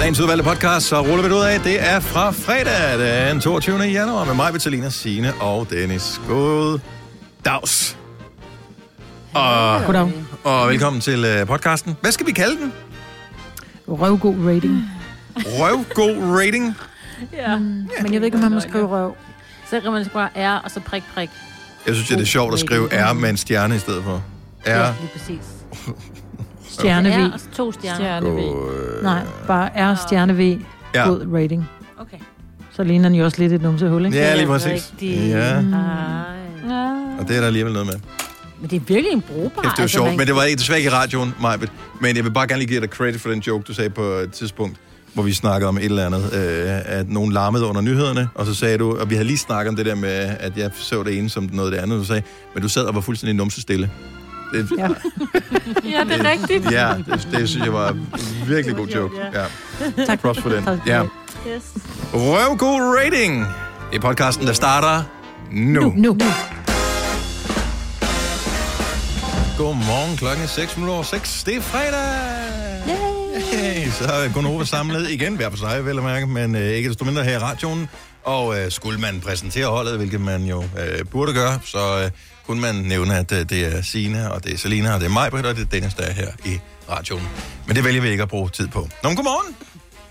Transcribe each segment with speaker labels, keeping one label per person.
Speaker 1: dagens udvalgte podcast, så ruller vi det ud af. Det er fra fredag den 22. januar med mig, Vitalina, Signe og Dennis. God dags. Og,
Speaker 2: Goddag.
Speaker 1: og velkommen til øh, podcasten. Hvad skal vi kalde den?
Speaker 2: Røvgod rating.
Speaker 1: Røvgod rating.
Speaker 3: Ja.
Speaker 2: Mm.
Speaker 4: Men jeg ved ikke, om man må skrive røv.
Speaker 3: Så kan man skrive R, og så prik, prik.
Speaker 1: Jeg synes, det er sjovt at skrive R med en stjerne i stedet for. R.
Speaker 3: lige præcis.
Speaker 2: Stjerne V.
Speaker 3: R, og så to stjerner.
Speaker 1: Øh,
Speaker 2: Nej, bare R stjerne V.
Speaker 1: Ja.
Speaker 2: God rating.
Speaker 3: Okay.
Speaker 2: Så ligner den jo også lidt et numsehul, ikke?
Speaker 1: Ja, lige præcis.
Speaker 3: Rigtig.
Speaker 1: Ja,
Speaker 3: Ej.
Speaker 1: og det er der alligevel noget med.
Speaker 3: Men det er virkelig en brugbar.
Speaker 1: Kæft, det var
Speaker 3: altså,
Speaker 1: sjovt,
Speaker 3: man-
Speaker 1: men det var ikke- desværre ikke i radioen, Majbet. Men jeg vil bare gerne lige give dig credit for den joke, du sagde på et tidspunkt, hvor vi snakkede om et eller andet, øh, at nogen larmede under nyhederne, og så sagde du, og vi havde lige snakket om det der med, at jeg så det ene som noget af det andet, du sagde, men du sad og var fuldstændig numsestille. Det, ja.
Speaker 3: Ja, det er rigtigt.
Speaker 1: ja, det, det synes jeg var en virkelig god joke. Ja.
Speaker 2: Tak.
Speaker 1: Props for den. Ja.
Speaker 3: Yes.
Speaker 1: Røvgod rating! Det er podcasten, der starter nu. nu.
Speaker 2: Nu.
Speaker 1: Godmorgen, klokken er 6 minutter over 6. Det er fredag! Yay! Så er Gunova samlet igen, hver for sig, vel at mærke, men øh, ikke desto mindre her i radioen. Og øh, skulle man præsentere holdet, hvilket man jo øh, burde gøre, så øh, kunne man nævne, at øh, det er Sine og det er Selina, og det er mig, og det er Dennis, der er her i radioen. Men det vælger vi ikke at bruge tid på. Nå, men godmorgen!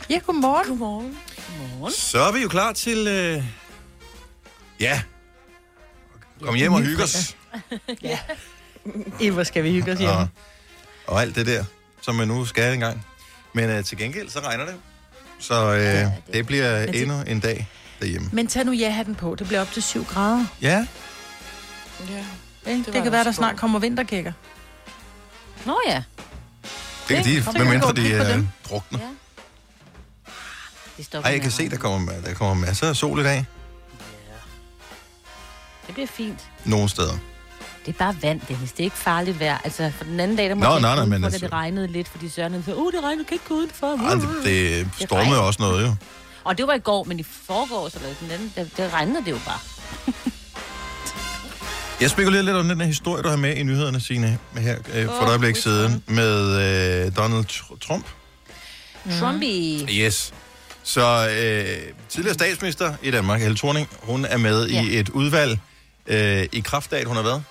Speaker 4: Ja, godmorgen. Godmorgen.
Speaker 1: Så er vi jo klar til... Øh... Ja. Kom hjem og hygge os.
Speaker 4: I, hvor skal vi hygge os hjemme.
Speaker 1: og, og alt det der, som man nu skal engang. Men øh, til gengæld, så regner det. Så øh, ja, det, det bliver
Speaker 4: Men
Speaker 1: det...
Speaker 4: det-
Speaker 1: endnu en dag derhjemme.
Speaker 4: Men tag nu ja-hatten på. Det bliver op til 7 grader.
Speaker 1: Ja,
Speaker 5: Ja.
Speaker 4: Ikke? Det,
Speaker 5: var
Speaker 4: det kan
Speaker 5: da
Speaker 4: være, der
Speaker 5: skål.
Speaker 4: snart kommer vintergækker.
Speaker 3: Nå ja.
Speaker 1: det kan de,
Speaker 4: kom, så kan
Speaker 1: medmindre
Speaker 4: vi gå og
Speaker 1: de
Speaker 4: kigge på
Speaker 1: øh,
Speaker 4: dem.
Speaker 1: drukner.
Speaker 3: Ja. Det stopper
Speaker 1: Ej, jeg kan se, der kommer, der kommer masser af sol i dag.
Speaker 3: Det bliver fint.
Speaker 1: Nogle steder.
Speaker 3: Det er bare vand, Dennis. Det er ikke farligt vejr. Altså, for den anden dag, der
Speaker 1: Nå,
Speaker 3: måtte jeg
Speaker 1: nej, nej,
Speaker 3: ikke
Speaker 1: men
Speaker 3: udenfor, da
Speaker 1: altså-
Speaker 3: det regnede lidt, fordi Søren sagde, åh, det regner, du kan ikke gå udenfor.
Speaker 1: Ej, det, det stormer jo også noget, jo.
Speaker 3: Og det var i går, men i forgårs, eller den anden, der, der regnede det jo bare.
Speaker 1: Jeg spekulerer lidt om den her historie, du har med i nyhederne, Signe, her øh, for et øjeblik siden, med øh, Donald Tr- Trump.
Speaker 3: Trumpy.
Speaker 1: Yes. Så øh, tidligere statsminister i Danmark, Helle Thorning, hun er med ja. i
Speaker 3: Ja.
Speaker 1: et udvalg øh, i kraft af, at hun har været.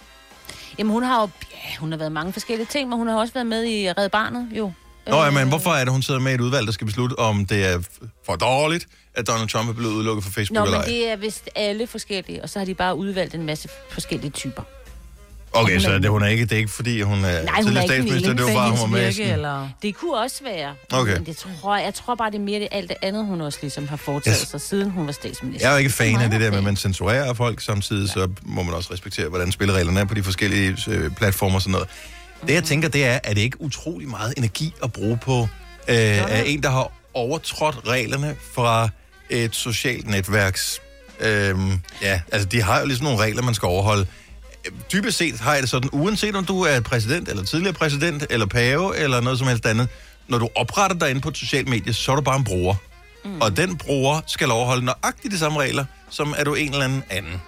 Speaker 3: Jamen, hun har jo ja, hun har været mange forskellige ting, men hun har også været med i Red Barnet, jo.
Speaker 1: Nå, ja, men hvorfor er det, hun sidder med i et udvalg, der skal beslutte, om det er for dårligt, at Donald Trump er blevet udelukket fra Facebook
Speaker 3: Nå,
Speaker 1: eller
Speaker 3: men
Speaker 1: ej?
Speaker 3: det er vist alle forskellige, og så har de bare udvalgt en masse forskellige typer.
Speaker 1: Okay, så det, hun er ikke, det er ikke, fordi hun er
Speaker 3: hun er ikke
Speaker 1: tidligere
Speaker 3: en
Speaker 1: statsminister, det var bare, hun var med. i
Speaker 4: virke,
Speaker 1: Sådan.
Speaker 4: eller...
Speaker 3: Det kunne også være.
Speaker 1: Okay.
Speaker 3: Men det tror jeg, jeg tror bare, det er mere det alt det andet, hun også ligesom har foretaget
Speaker 1: Yes.
Speaker 3: yes. sig, siden hun var statsminister.
Speaker 1: Jeg er jo ikke fan af
Speaker 3: Meget
Speaker 1: det der med, at
Speaker 3: fan.
Speaker 1: man censurerer folk samtidig, så må man også respektere, hvordan spillereglerne er på de forskellige øh, platformer og sådan noget. Det, jeg tænker, det er, er det ikke utrolig meget energi at bruge på øh, af en, der har overtrådt reglerne fra et socialt netværks... Øh, ja, altså, de har jo ligesom nogle regler, man skal overholde. Øh, Dybest set har jeg det sådan, uanset om du er præsident, eller tidligere præsident, eller pave, eller noget som helst andet, når du opretter dig inde på et socialt medie, så er du bare en bruger. Mm. Og den bruger skal overholde nøjagtigt de samme regler, som er du en eller anden anden.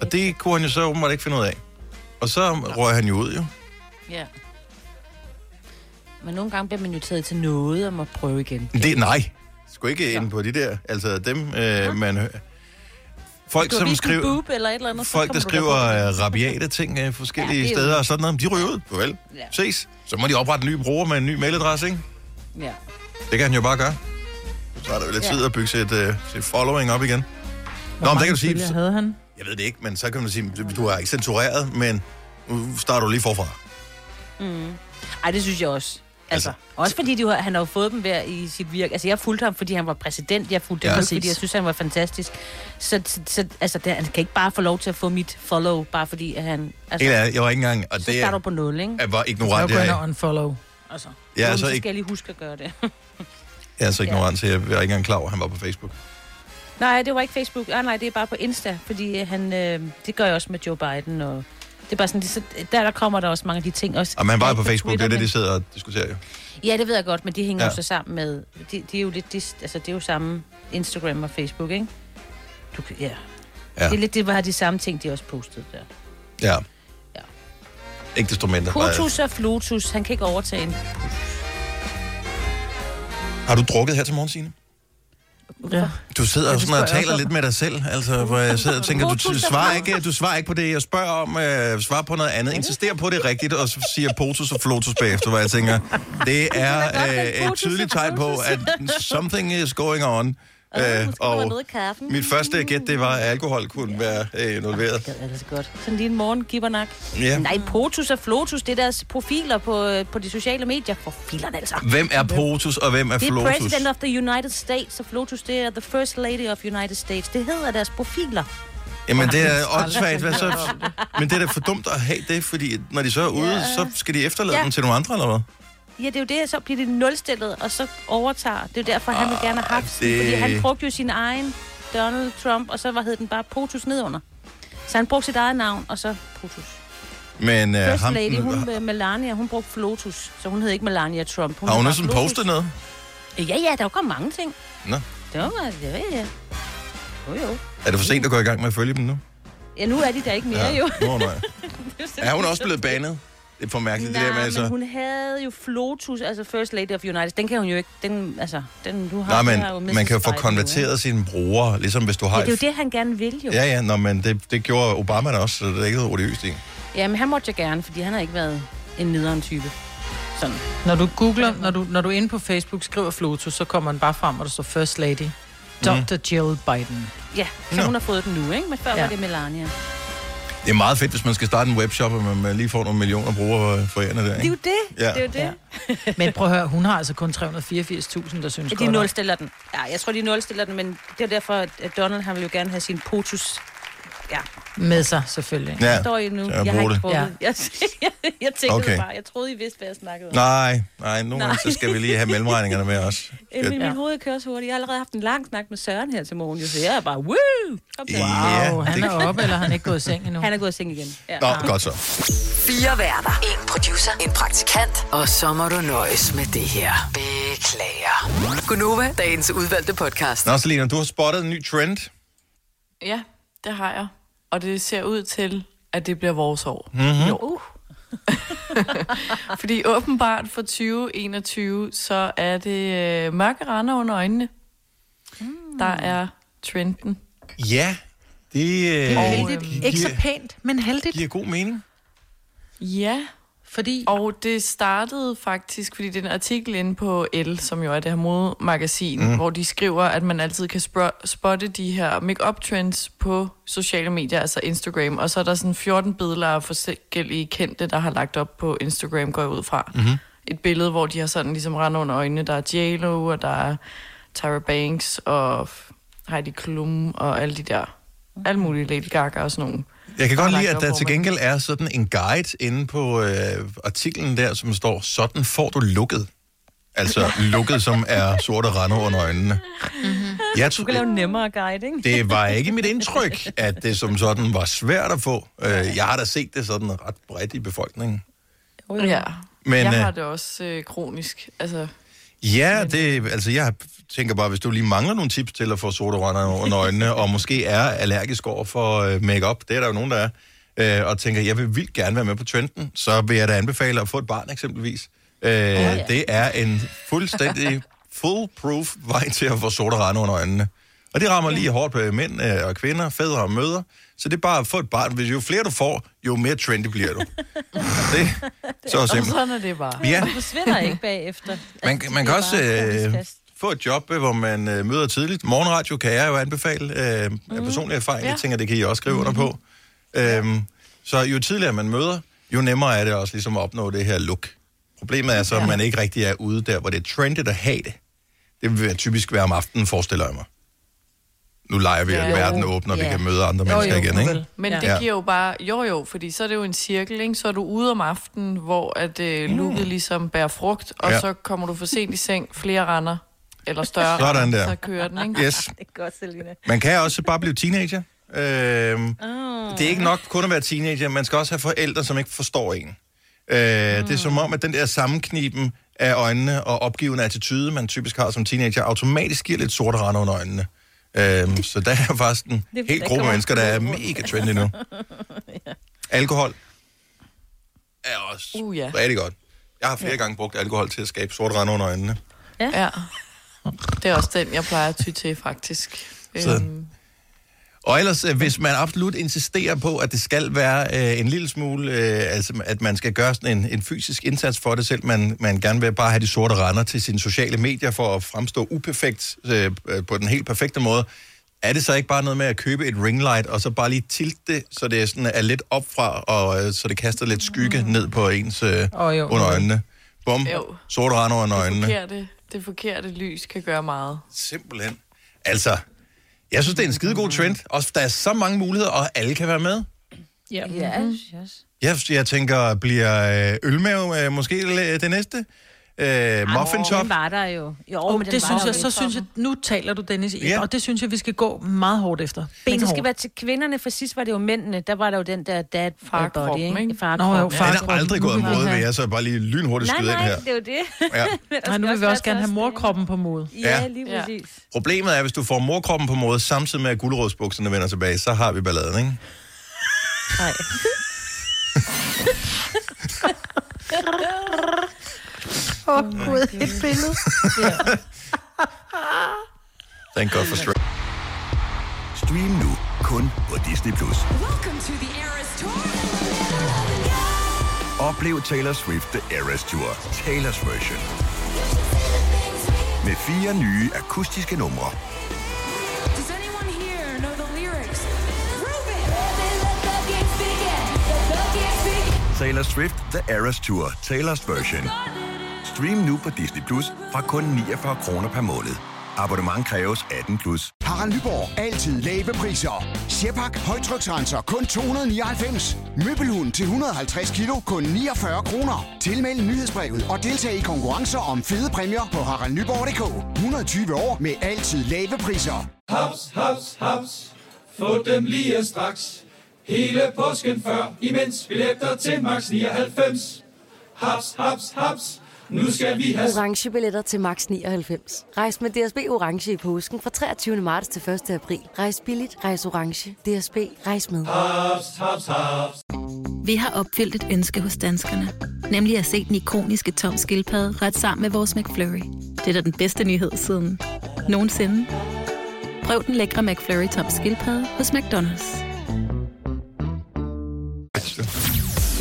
Speaker 1: Og det kunne han jo så åbenbart ikke finde ud af. Og så røg han jo ud, jo.
Speaker 3: Ja. Men nogle gange bliver man jo taget til noget og må prøve igen.
Speaker 1: Det, nej. Sgu ikke ind på de der. Altså dem, øh, man... hø- Folk,
Speaker 3: Du har
Speaker 1: som
Speaker 3: vist en
Speaker 1: skriver,
Speaker 3: boob eller et eller andet, så
Speaker 1: folk, der
Speaker 3: kommer du
Speaker 1: skriver
Speaker 3: derop.
Speaker 1: øh, rabiate ting øh, forskellige
Speaker 3: Ja,
Speaker 1: ja,
Speaker 3: det er jo-
Speaker 1: steder og sådan noget, de ryger ud. Vel,
Speaker 3: Ja.
Speaker 1: ses. Så må de oprette en ny bruger med en ny mailadresse, ikke?
Speaker 3: Ja.
Speaker 1: Det kan han jo bare gøre. Så er der jo lidt
Speaker 3: Ja.
Speaker 1: tid at bygge sit, øh, sit following op igen.
Speaker 2: Hvor
Speaker 1: Nå, men det
Speaker 2: mange
Speaker 1: kan du sige,
Speaker 2: følgere havde han?
Speaker 1: Jeg ved det ikke, men så kan man sige, du har ikke censureret, men nu starter du lige forfra.
Speaker 3: Altså- Mm. Ej, det synes jeg også. Altså,
Speaker 1: Altså-
Speaker 3: altså. også fordi de, jo- han har jo fået dem hver i sit virke. Altså, jeg fulgte ham, fordi han var præsident. Jeg fulgte
Speaker 1: Ja.
Speaker 3: ja, ham,
Speaker 1: Præcis.
Speaker 3: fordi jeg synes, han var fantastisk. Så, så, så altså, det, han kan ikke bare få lov til at få mit follow, bare fordi at han... Altså,
Speaker 1: Helt ærligt, jeg var ikke engang, og
Speaker 3: så
Speaker 1: det
Speaker 3: starter
Speaker 1: er,
Speaker 3: du på nul, ikke?
Speaker 1: jeg var
Speaker 4: Jeg
Speaker 1: ignorant,
Speaker 4: går
Speaker 1: jeg
Speaker 4: ind
Speaker 1: er.
Speaker 4: og unfollow.
Speaker 3: Altså,
Speaker 1: Jeg er
Speaker 3: Nå,
Speaker 1: så
Speaker 3: så
Speaker 1: ikke-
Speaker 3: skal jeg lige huske at gøre det.
Speaker 1: Jeg er så ignorant, så jeg var ikke engang klar over, at han var på Facebook.
Speaker 3: nej, det var ikke Facebook. Ah, nej, det er bare på Insta, fordi øh, han, øh, det gør jeg også med Joe Biden. Og det er bare sådan, det, så, der, der kommer der også mange af de ting. Også,
Speaker 1: Og man var jo
Speaker 3: ikke
Speaker 1: på Facebook, det er
Speaker 3: Twitter,
Speaker 1: det, de
Speaker 3: men-
Speaker 1: sidder og diskuterer jo.
Speaker 3: Ja, det ved jeg godt, men de hænger
Speaker 1: Ja.
Speaker 3: ja. jo så sammen med... De, de er jo lidt... De, altså, det er jo samme Instagram og Facebook, ikke? Du, kan- ja.
Speaker 1: Ja.
Speaker 3: ja. Det er lidt det, var de samme ting, de også postede der.
Speaker 1: Ja.
Speaker 3: Ja.
Speaker 1: Ikke desto mindre. var jeg-
Speaker 3: Kotus og Flutus, han kan ikke overtage en.
Speaker 1: Har du drukket her til morgen, Signe?
Speaker 2: Ja.
Speaker 1: Du sidder
Speaker 2: Ja,
Speaker 1: jo
Speaker 2: det
Speaker 1: sådan og
Speaker 2: spørger jeg
Speaker 1: taler
Speaker 2: også
Speaker 1: lidt med dig selv, altså, hvor jeg sidder og tænker, du, du, svarer ikke, du svarer ikke på det, jeg spørger om, øh, svarer på noget andet, insisterer på det rigtigt, og så siger potus og flotus bagefter, hvor jeg tænker, det er øh, et tydeligt tegn på, at something is going on. Øh, og
Speaker 3: kaffen.
Speaker 1: mit første gæt, det var, at alkohol kunne være øh, involveret.
Speaker 3: Det er altså godt. Sådan lige en morgen, gibbernak.
Speaker 1: Ja.
Speaker 3: Nej, Potus og Flotus, det er deres profiler på, øh, på de sociale medier. For filerne altså.
Speaker 1: Hvem er potus, og hvem er
Speaker 3: Det er
Speaker 1: flotus?
Speaker 3: President of the United States, og Flotus, det er the First Lady of United States. Det hedder deres profiler.
Speaker 1: Jamen, det er åndssvagt. Hvad så? Men det er da for dumt at have det, fordi når de så er ude, så skal de efterlade
Speaker 3: Ja.
Speaker 1: dem til nogle andre, eller hvad?
Speaker 3: Ja, det er jo det, så bliver det nulstillet, og så overtager. Det er jo derfor, han vil gerne have haft
Speaker 1: Ah, det-
Speaker 3: det... Fordi han brugte jo sin egen Donald Trump, og så var, hed den bare Potus nedunder. Så han brugte sit eget navn, og så Potus.
Speaker 1: Men øh,
Speaker 3: First
Speaker 1: ham,
Speaker 3: Lady, hun øh, Melania, hun brugte Flotus, så hun hed ikke Melania Trump.
Speaker 1: har hun
Speaker 3: hed
Speaker 1: også
Speaker 3: bare
Speaker 1: sådan
Speaker 3: Flotus.
Speaker 1: postet noget?
Speaker 3: Ja, ja, der var kommet mange ting.
Speaker 1: Nå.
Speaker 3: Det var, det var, ja. Jo, jo.
Speaker 1: Er det for sent at gå i gang med at følge dem nu?
Speaker 3: Ja, nu er de der ikke mere, ja. jo.
Speaker 1: Nå, nej. Er hun også blevet banet? Det er for mærkeligt,
Speaker 3: Nej,
Speaker 1: det der med,
Speaker 3: men
Speaker 1: altså...
Speaker 3: hun havde jo Flotus, altså First Lady of United. Den kan hun jo ikke, den, altså, den, du har,
Speaker 1: Nej,
Speaker 3: du har
Speaker 1: men man
Speaker 3: Mrs.
Speaker 1: kan jo få
Speaker 3: Biden nu,
Speaker 1: konverteret sine brugere, ligesom hvis du
Speaker 3: ikke?
Speaker 1: har...
Speaker 3: Ja, det er jo det, han gerne vil jo.
Speaker 1: Ja, ja, nå, men det, det gjorde Obama da også, så det er ikke noget odiøst i.
Speaker 3: Ja, men han måtte jeg gerne, fordi han har ikke været en nederen type. Sådan.
Speaker 2: Når du googler, når du, når du er inde på Facebook skriver Flotus, så kommer den bare frem, og der står First Lady. Dr. Jill Biden.
Speaker 3: Ja, Mhm. så
Speaker 1: Nå.
Speaker 3: hun har fået den nu, ikke? Men før
Speaker 2: Ja.
Speaker 3: ja. var det Melania.
Speaker 1: Det er meget fedt, hvis man skal starte en webshop, og man- man lige får nogle millioner brugere for ærerne der, ikke?
Speaker 3: det.
Speaker 1: Ja.
Speaker 3: Det er jo det. Ja.
Speaker 2: Men prøv at høre, hun har altså kun 384.000, der synes
Speaker 3: Ja,
Speaker 2: godt.
Speaker 3: de
Speaker 2: om.
Speaker 3: nulstiller den. Ja, jeg tror, de nulstiller den, men det er derfor, at at Donald, han vil jo gerne have sin potus. Ja,
Speaker 2: Med sig, selvfølgelig.
Speaker 1: Ja.
Speaker 3: ja. står I nu.
Speaker 1: så
Speaker 3: Jeg,
Speaker 1: jeg
Speaker 3: har
Speaker 1: bruger
Speaker 3: ikke
Speaker 1: det.
Speaker 3: prøvet. Ja. Jeg, jeg, jeg tænkte
Speaker 1: Okay.
Speaker 3: okay. bare, jeg troede, I vidste, hvad jeg snakkede om.
Speaker 1: Nej, nej, nogle gange,
Speaker 3: Nej.
Speaker 1: så skal vi lige have mellemregningerne med os.
Speaker 3: Emil,
Speaker 2: Ja.
Speaker 3: min hoved kører så hurtigt. Jeg har allerede haft en lang snak med Søren her til morgen, jo, så jeg er bare, woo! Kom så.
Speaker 2: Wow,
Speaker 1: Ja,
Speaker 2: han
Speaker 1: det-
Speaker 2: er oppe, eller han er ikke gået i seng endnu. Ah.
Speaker 3: Han er gået i seng igen. Ja.
Speaker 1: Nå, godt så.
Speaker 5: Fire værter. En producer. En praktikant. Og så må du nøjes med det her. Beklager. Gunova, dagens udvalgte podcast.
Speaker 1: Nå, Selina, du har spottet en ny trend.
Speaker 6: Ja, det har jeg. Og det ser ud til, at det bliver vores år. Mm-hmm. Jo. Fordi åbenbart for 2021, så er det øh, mørke render under øjnene. Mm. Der er trenden.
Speaker 1: Ja, det, øh,
Speaker 4: Heldigt. Ikke så
Speaker 1: giver,
Speaker 4: pænt, men heldigt.
Speaker 1: giver god mening.
Speaker 6: Ja,
Speaker 4: Fordi
Speaker 6: og det startede faktisk, fordi det er en artikel inde på L, som jo er det her modemagasin, mm. hvor de skriver, at man altid kan spro- spotte de her make-up trends på sociale medier, altså Instagram. Og så er der sådan 14 billeder af forskellige kendte, der har lagt op på Instagram, går jeg ud fra.
Speaker 1: Mhm.
Speaker 6: Mm-hmm. Et billede, hvor de har sådan ligesom rendt under øjnene. Der er J.Lo, og der er Tyra Banks, og Heidi Klum, og alle de der. Alle mulige Lady Gaga og sådan nogle.
Speaker 1: Jeg kan godt
Speaker 6: Lagt
Speaker 1: lide, at
Speaker 6: op,
Speaker 1: der
Speaker 6: hvor
Speaker 1: til
Speaker 6: man-
Speaker 1: gengæld er sådan en guide inde på øh, artiklen der, som står, sådan får du lukket. Altså lukket, som er sorte rande under øjnene. Jeg
Speaker 3: Du kan lave
Speaker 1: tror,
Speaker 3: en nemmere guide, ikke?
Speaker 1: det var ikke mit indtryk, at det som sådan var svært at få. Øh, jeg har da set det sådan ret bredt i befolkningen.
Speaker 6: Ja.
Speaker 1: Men,
Speaker 6: Men, jeg
Speaker 1: øh,
Speaker 6: har det også øh, kronisk. Altså,
Speaker 1: Ja, det, altså jeg tænker bare, hvis du lige mangler nogle tips til at få sodavand under øjnene, og måske er allergisk over for øh, makeup, det er der jo nogen, der er, øh, og tænker, jeg vil vildt gerne være med på trenden, så vil jeg da anbefale at få et barn eksempelvis. Øh, ja. Det er en fuldstændig foolproof vej til at få sodavand under øjnene. Og det rammer lige hårdt på mænd øh, og kvinder, fædre og mødre. Så det er bare at få et barn. Hvis jo flere du får, jo mere trendy bliver du. det, så
Speaker 6: og
Speaker 1: simpelt.
Speaker 6: sådan er det bare.
Speaker 1: Ja.
Speaker 3: Du forsvinder ikke bagefter.
Speaker 1: Man,
Speaker 3: Altså, det
Speaker 1: man kan
Speaker 3: er
Speaker 1: også
Speaker 3: bare
Speaker 1: øh,
Speaker 3: fast.
Speaker 1: få et job, øh, hvor man øh, møder tidligt. Morgenradio kan jeg jo anbefale øh, af personlig erfaring. Ja. Jeg tænker, det kan I også skrive mm. under på. Øhm, så jo tidligere man møder, jo nemmere er det også ligesom at opnå det her look. Problemet er så, at man ikke rigtig er ude der, hvor det er trendet at have det. Det vil typisk være om aftenen, forestiller jeg mig. Nu leger vi, at
Speaker 6: Ja.
Speaker 1: verden åbner, og vi
Speaker 3: Ja.
Speaker 1: kan møde andre mennesker igen, ikke?
Speaker 6: Men ja.
Speaker 1: Ja.
Speaker 6: det giver jo bare, jo jo, fordi så er det jo en cirkel, ikke? Så er du ude om aftenen, hvor at øh, looket ligesom bærer frugt, og
Speaker 1: Mm. Ja.
Speaker 6: ja. så kommer du for sent i seng, flere render, eller større
Speaker 1: Sådan
Speaker 6: render,
Speaker 1: der.
Speaker 6: så kører den, ikke?
Speaker 1: Yes.
Speaker 3: Det er godt, Selina.
Speaker 1: Man kan også bare blive teenager. Øhm,
Speaker 6: Ah.
Speaker 1: oh. Det er ikke nok kun at være teenager, man skal også have forældre, som ikke forstår en. Øh, Det
Speaker 6: Ah.
Speaker 1: er som om, at den der sammenkniben af øjnene og opgivende attitude, man typisk har som teenager, automatisk giver lidt sorte rande under øjnene. Øhm, så der er faktisk en
Speaker 3: fordi,
Speaker 1: hel
Speaker 3: der
Speaker 1: gruppe
Speaker 3: kommer
Speaker 1: mennesker, der er
Speaker 3: noget rundt.
Speaker 1: mega trendy nu. Alkohol er også
Speaker 6: Uh, ja.
Speaker 1: rigtig godt. Jeg har flere gange brugt alkohol til at skabe sorte rande under øjnene.
Speaker 6: Ja. Det er også den, jeg plejer at ty til, faktisk.
Speaker 1: Så-
Speaker 6: Øhm,
Speaker 1: Og ellers, øh, hvis man absolut insisterer på, at det skal være øh, en lille smule, øh, altså at man skal gøre sådan en, en fysisk indsats for det selv, man, man gerne vil bare have de sorte render til sine sociale medier for at fremstå uperfekt øh, øh, på den helt perfekte måde, er det så ikke bare noget med at købe et ringlight, og så bare lige tilte det, så det sådan er lidt opfra, og øh, så det kaster lidt skygge ned på ens øh,
Speaker 2: Åh, jo.
Speaker 1: under øjnene? Bum,
Speaker 6: Jo.
Speaker 1: sorte render under øjnene.
Speaker 6: forkerte, det forkerte lys kan gøre meget.
Speaker 1: Simpelthen. Altså, jeg synes, det er en skide god trend. Også der er så mange muligheder, og alle kan være med.
Speaker 3: Ja.
Speaker 2: Ja.
Speaker 1: Jeg, jeg tænker, bliver øh, ølmave øh, måske øh, det næste? Øh, muffin top?
Speaker 3: Den var der jo. Jo,
Speaker 2: Og
Speaker 3: men
Speaker 2: oh,
Speaker 3: den
Speaker 2: det
Speaker 3: var
Speaker 2: synes
Speaker 3: der
Speaker 2: jeg,
Speaker 3: jo
Speaker 2: så
Speaker 3: ikke.
Speaker 2: synes jeg, nu taler du, Dennis,
Speaker 1: Ja.
Speaker 2: ja. og det synes jeg, vi skal gå meget hårdt efter.
Speaker 3: Men det
Speaker 2: Benhårdt.
Speaker 3: skal være til kvinderne, for sidst var det jo mændene. Der var der jo den der dad far body,
Speaker 6: Farkroppen,
Speaker 3: ikke?
Speaker 6: ikke?
Speaker 2: Nå,
Speaker 3: Farkroppen.
Speaker 2: jo,
Speaker 1: Den
Speaker 2: far-
Speaker 1: er aldrig gået
Speaker 2: Nu vil
Speaker 1: mod,
Speaker 2: vi
Speaker 1: vil
Speaker 2: have-
Speaker 1: jeg så bare lige lynhurtigt
Speaker 3: Nej,
Speaker 1: skyde ind her.
Speaker 3: nej, det er jo det.
Speaker 1: Ja.
Speaker 2: Nej, nu vil vi også gerne have morkroppen på mode.
Speaker 3: Ja, lige
Speaker 6: Ja.
Speaker 3: præcis.
Speaker 1: Problemet er, hvis du får morkroppen på måde, samtidig med at gulerodsbukserne vender tilbage, så har vi balladen, ikke?
Speaker 3: Nej.
Speaker 4: Åh, oh, gud, et billede.
Speaker 1: Thank God for straight.
Speaker 7: Stream nu kun på Disney+. Plus. Oplev Taylor Swift The Eras Tour, Taylor's version. Med fire nye akustiske numre. Taylor Swift The Eras Tour, Taylor's version. Stream nu på Disney Plus fra kun 49 kroner per måned. Abonnement kræves 18 plus.
Speaker 8: Harald Nyborg. Altid lave priser. Sjehpak. Højtryksrenser. Kun 299. Møbelhund til 150 kilo. Kun 49 kroner. Tilmeld nyhedsbrevet og deltag i konkurrencer om fede præmier på haraldnyborg.dk. 120 år med altid lave priser.
Speaker 9: Haps, haps, haps. Få dem lige straks. Hele påsken før, imens billetter til max 99. Haps, haps, haps. Nu skal vi have
Speaker 10: Orange billetter til max 99. Rejs med DSB Orange i påsken fra 23. marts til 1. april. Rejs billigt, rejs orange. DSB, rejs med.
Speaker 9: haps, haps, haps.
Speaker 11: Vi har opfyldt et ønske hos danskerne. Nemlig at se den ikoniske tom skildpadde ret sammen med vores McFlurry. Det er da den bedste nyhed siden nogensinde. Prøv den lækre McFlurry tom skildpadde hos McDonald's.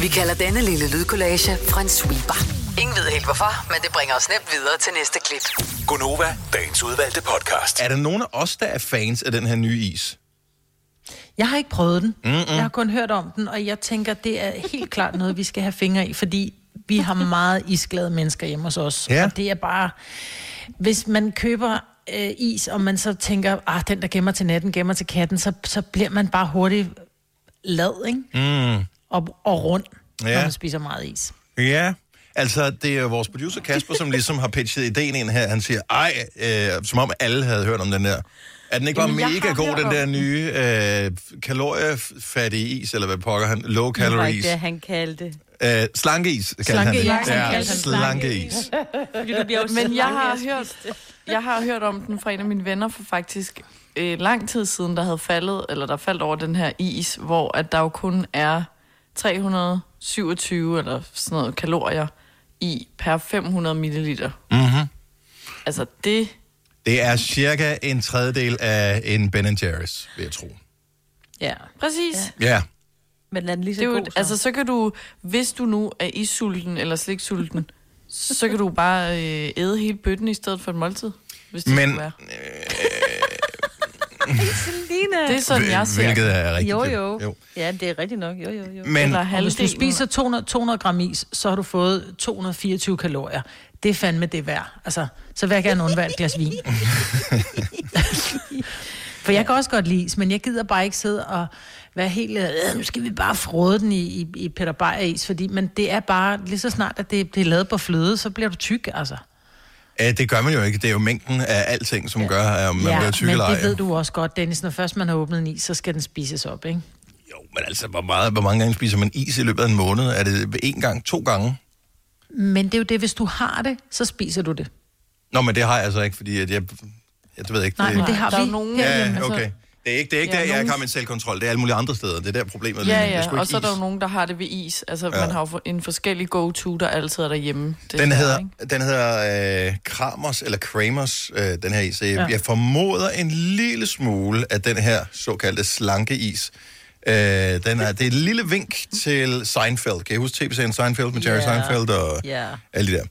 Speaker 5: Vi kalder denne lille lydkollage en sweeper. Ingen ved helt hvorfor, men det bringer os nemt videre til næste klip.
Speaker 7: Gonova, dagens udvalgte podcast.
Speaker 1: Er der nogen af os, der er fans af den her nye is?
Speaker 2: Jeg har ikke prøvet den. Mm-mm.
Speaker 1: Mm.
Speaker 2: Jeg har kun hørt om den, og jeg tænker, det er helt klart noget, vi skal have fingre i, fordi vi har meget isglade mennesker hjemme hos os.
Speaker 1: Ja.
Speaker 2: Og det er bare... Hvis man køber øh, is, og man så tænker, ah, den der gemmer til natten, gemmer til katten, så, så bliver man bare hurtigt lad, ikke? Mm. Og, og rund,
Speaker 1: Ja.
Speaker 2: ja. når man spiser meget is.
Speaker 1: Ja, altså det er jo vores producer Kasper, som ligesom har pitchet ideen ind her. Han siger, ej, øh, som om alle havde hørt om den der. Er den ikke bare
Speaker 6: Jamen, jeg
Speaker 1: mega
Speaker 6: har
Speaker 1: god,
Speaker 6: hørt
Speaker 1: den
Speaker 6: om
Speaker 1: der nye øh, kaloriefattige is, eller hvad pokker han? Low
Speaker 3: Det var
Speaker 1: calorie is.
Speaker 3: ikke det, han kaldte det.
Speaker 1: Øh, slankeis, kaldte
Speaker 2: Slanke is,
Speaker 1: han
Speaker 2: han
Speaker 1: det.
Speaker 2: kaldte
Speaker 1: Ja,
Speaker 2: den.
Speaker 1: slankeis.
Speaker 3: Fordi du bliver jo
Speaker 6: Men
Speaker 3: så
Speaker 6: jeg
Speaker 3: lang af
Speaker 6: har
Speaker 3: at spise
Speaker 6: hørt,
Speaker 3: det.
Speaker 6: jeg har hørt om den fra en af mine venner for faktisk øh, lang tid siden, der havde faldet, eller der faldt over den her is, hvor at der jo kun er 327 eller sådan noget kalorier i per 500 milliliter. Mm-hmm. Altså det,
Speaker 1: Mhm. Det er cirka en tredjedel af en Ben Jerry's, vil jeg tro.
Speaker 2: Ja.
Speaker 6: præcis. Ja.
Speaker 1: Ja,
Speaker 3: Men er den lige så
Speaker 6: Det er jo,
Speaker 3: god, så?
Speaker 6: altså så kan du, hvis du nu er isulten eller sliksulten, så kan du bare øh, æde hele bøtten i stedet for et måltid, hvis det
Speaker 1: Men- Øh.
Speaker 6: skulle være.
Speaker 3: Selina.
Speaker 6: Det er sådan, jeg ser det.
Speaker 1: hvilket er rigtigt.
Speaker 3: Jo, jo, jo. Ja, det er rigtigt nok. Jo, jo, jo.
Speaker 1: Men,
Speaker 6: Eller
Speaker 2: Og hvis du
Speaker 6: halvdelen.
Speaker 2: spiser 200, 200 gram is, så har du fået 224 kalorier. Det er fandme det værd. Altså, så vil jeg gerne undvære et glas vin. For jeg kan også godt lide is, men jeg gider bare ikke sidde og være helt... Øh, nu skal vi bare frode den i, i, i Peter Beyer is, fordi men det er bare... Lige så snart, at det, det er lavet på fløde, så bliver du tyk, altså.
Speaker 1: øh, det gør man jo ikke. Det er jo mængden af alting, som gør, at man bliver tyk
Speaker 2: men
Speaker 1: eller ej.
Speaker 2: det ved du også godt, Dennis. Når først man har åbnet en is, så skal den spises op, ikke?
Speaker 1: Jo, men altså, hvor, meget, hvor mange gange spiser man is i løbet af en måned? Er det en gang, to gange?
Speaker 2: Men det er jo det, hvis du har det, så spiser du det.
Speaker 1: Nå, men det har jeg altså ikke, fordi at jeg... Jeg ved ikke.
Speaker 2: Nej, men det
Speaker 1: det
Speaker 2: har
Speaker 6: Der er
Speaker 2: vi
Speaker 6: nogen-
Speaker 2: herhjemme,
Speaker 1: Ja,
Speaker 2: altså.
Speaker 1: okay. Det er ikke, det er ikke
Speaker 6: Ja,
Speaker 1: ja, der, jeg
Speaker 6: nogen-
Speaker 1: har med selvkontrol. Det er alle mulige andre steder. Det er der problemet. er.
Speaker 6: Ja,
Speaker 1: Det er
Speaker 6: ja,
Speaker 1: sgu
Speaker 6: og
Speaker 1: ikke
Speaker 6: så er der
Speaker 1: is.
Speaker 6: jo nogen, der har det ved is. Altså,
Speaker 1: Ja.
Speaker 6: ja. man har jo for- en forskellig go-to, der altid er derhjemme. Det
Speaker 1: Den
Speaker 6: er
Speaker 1: hedder,
Speaker 6: ikke?
Speaker 1: den hedder øh, Kramers, eller Kramers, øh, den her is. Jeg,
Speaker 6: Ja.
Speaker 1: ja. jeg formoder en lille smule, at den her såkaldte slanke is, øh, den er, det er et lille vink til Seinfeld. Kan I huske tv-serien Seinfeld med Jerry yeah. Seinfeld og
Speaker 3: Ja.
Speaker 1: alle de der?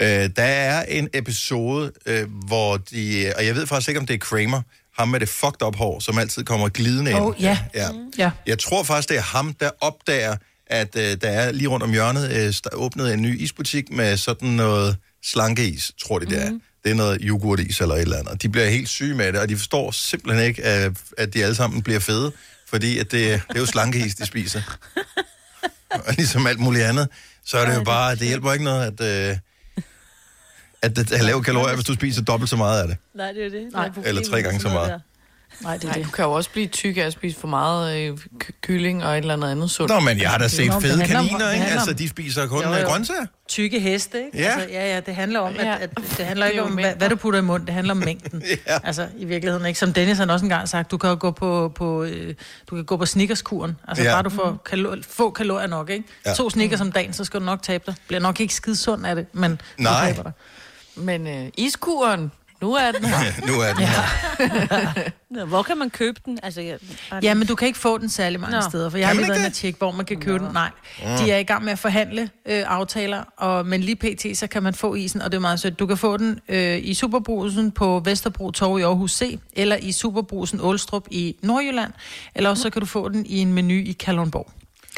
Speaker 1: Øh, der er en episode, øh, hvor de, og jeg ved faktisk ikke, om det er Kramer, ham med det fucked up hår, som altid kommer glidende ind.
Speaker 2: Åh, ja.
Speaker 1: ja.
Speaker 2: Ja.
Speaker 1: Jeg tror faktisk, det er ham, der opdager, at øh, der er lige rundt om hjørnet øh, der åbnet en ny isbutik med sådan noget slankeis, tror de det er. Det er noget yoghurtis eller et eller andet. Og De bliver helt syge med det, og de forstår simpelthen ikke, at, at de alle sammen bliver fede, fordi at det, det er jo slankeis, de spiser. Og ligesom alt muligt andet, så er det jo bare, det hjælper ikke noget, at, øh, at, at, at lave kalorier, hvis du spiser dobbelt så meget af det.
Speaker 3: Nej, det er det.
Speaker 6: Nej.
Speaker 1: Eller tre gange så meget.
Speaker 2: Nej,
Speaker 6: det er Du kan jo også blive tyk af at spise for meget øh, k- kylling og et eller andet andet sundt.
Speaker 1: Nå, men jeg har da set
Speaker 2: Nå, men det
Speaker 1: fede
Speaker 2: handler om-
Speaker 1: kaniner,
Speaker 2: det
Speaker 1: ikke?
Speaker 2: handler om-
Speaker 1: Altså, de spiser kun øh, grønsager.
Speaker 2: Tykke heste, ikke?
Speaker 1: Ja.
Speaker 2: Altså, ja, ja, det handler om, at, at det handler ikke om, hvad, hvad du putter i munden, det handler om mængden. ja. Altså, i virkeligheden, ikke? Som Dennis han også engang sagt, du kan jo gå på, på, øh, du kan gå på snickerskuren. Altså,
Speaker 1: Ja.
Speaker 2: ja. bare du får kalor- få kalorier nok, ikke?
Speaker 1: Ja.
Speaker 2: Ja. To snickers om dagen, så skal du nok tabe dig. Bliver nok ikke skide sund af det, men
Speaker 1: Nej.
Speaker 2: du taber dig.
Speaker 6: Men øh, iskuren, nu er den
Speaker 1: Ja, nu er den her.
Speaker 3: Nå, Hvor kan man købe den? Altså, jeg,
Speaker 2: Ja, men du kan ikke få den særlig mange
Speaker 3: Nå.
Speaker 2: Nå. steder, for jeg
Speaker 3: Kan
Speaker 2: har
Speaker 3: man
Speaker 2: lige været
Speaker 3: ikke
Speaker 2: inde og tjekke, hvor man kan købe Nå. den. Nej,
Speaker 3: Mm.
Speaker 2: de er i gang med at forhandle øh, aftaler, og, men lige pt. så kan man få isen, og det er meget sødt. Du kan få den øh, i Superbrusen på Vesterbro Torv i Aarhus C, eller i Superbrusen Ålstrup i Nordjylland, eller også så kan du få den i en menu i Kalundborg.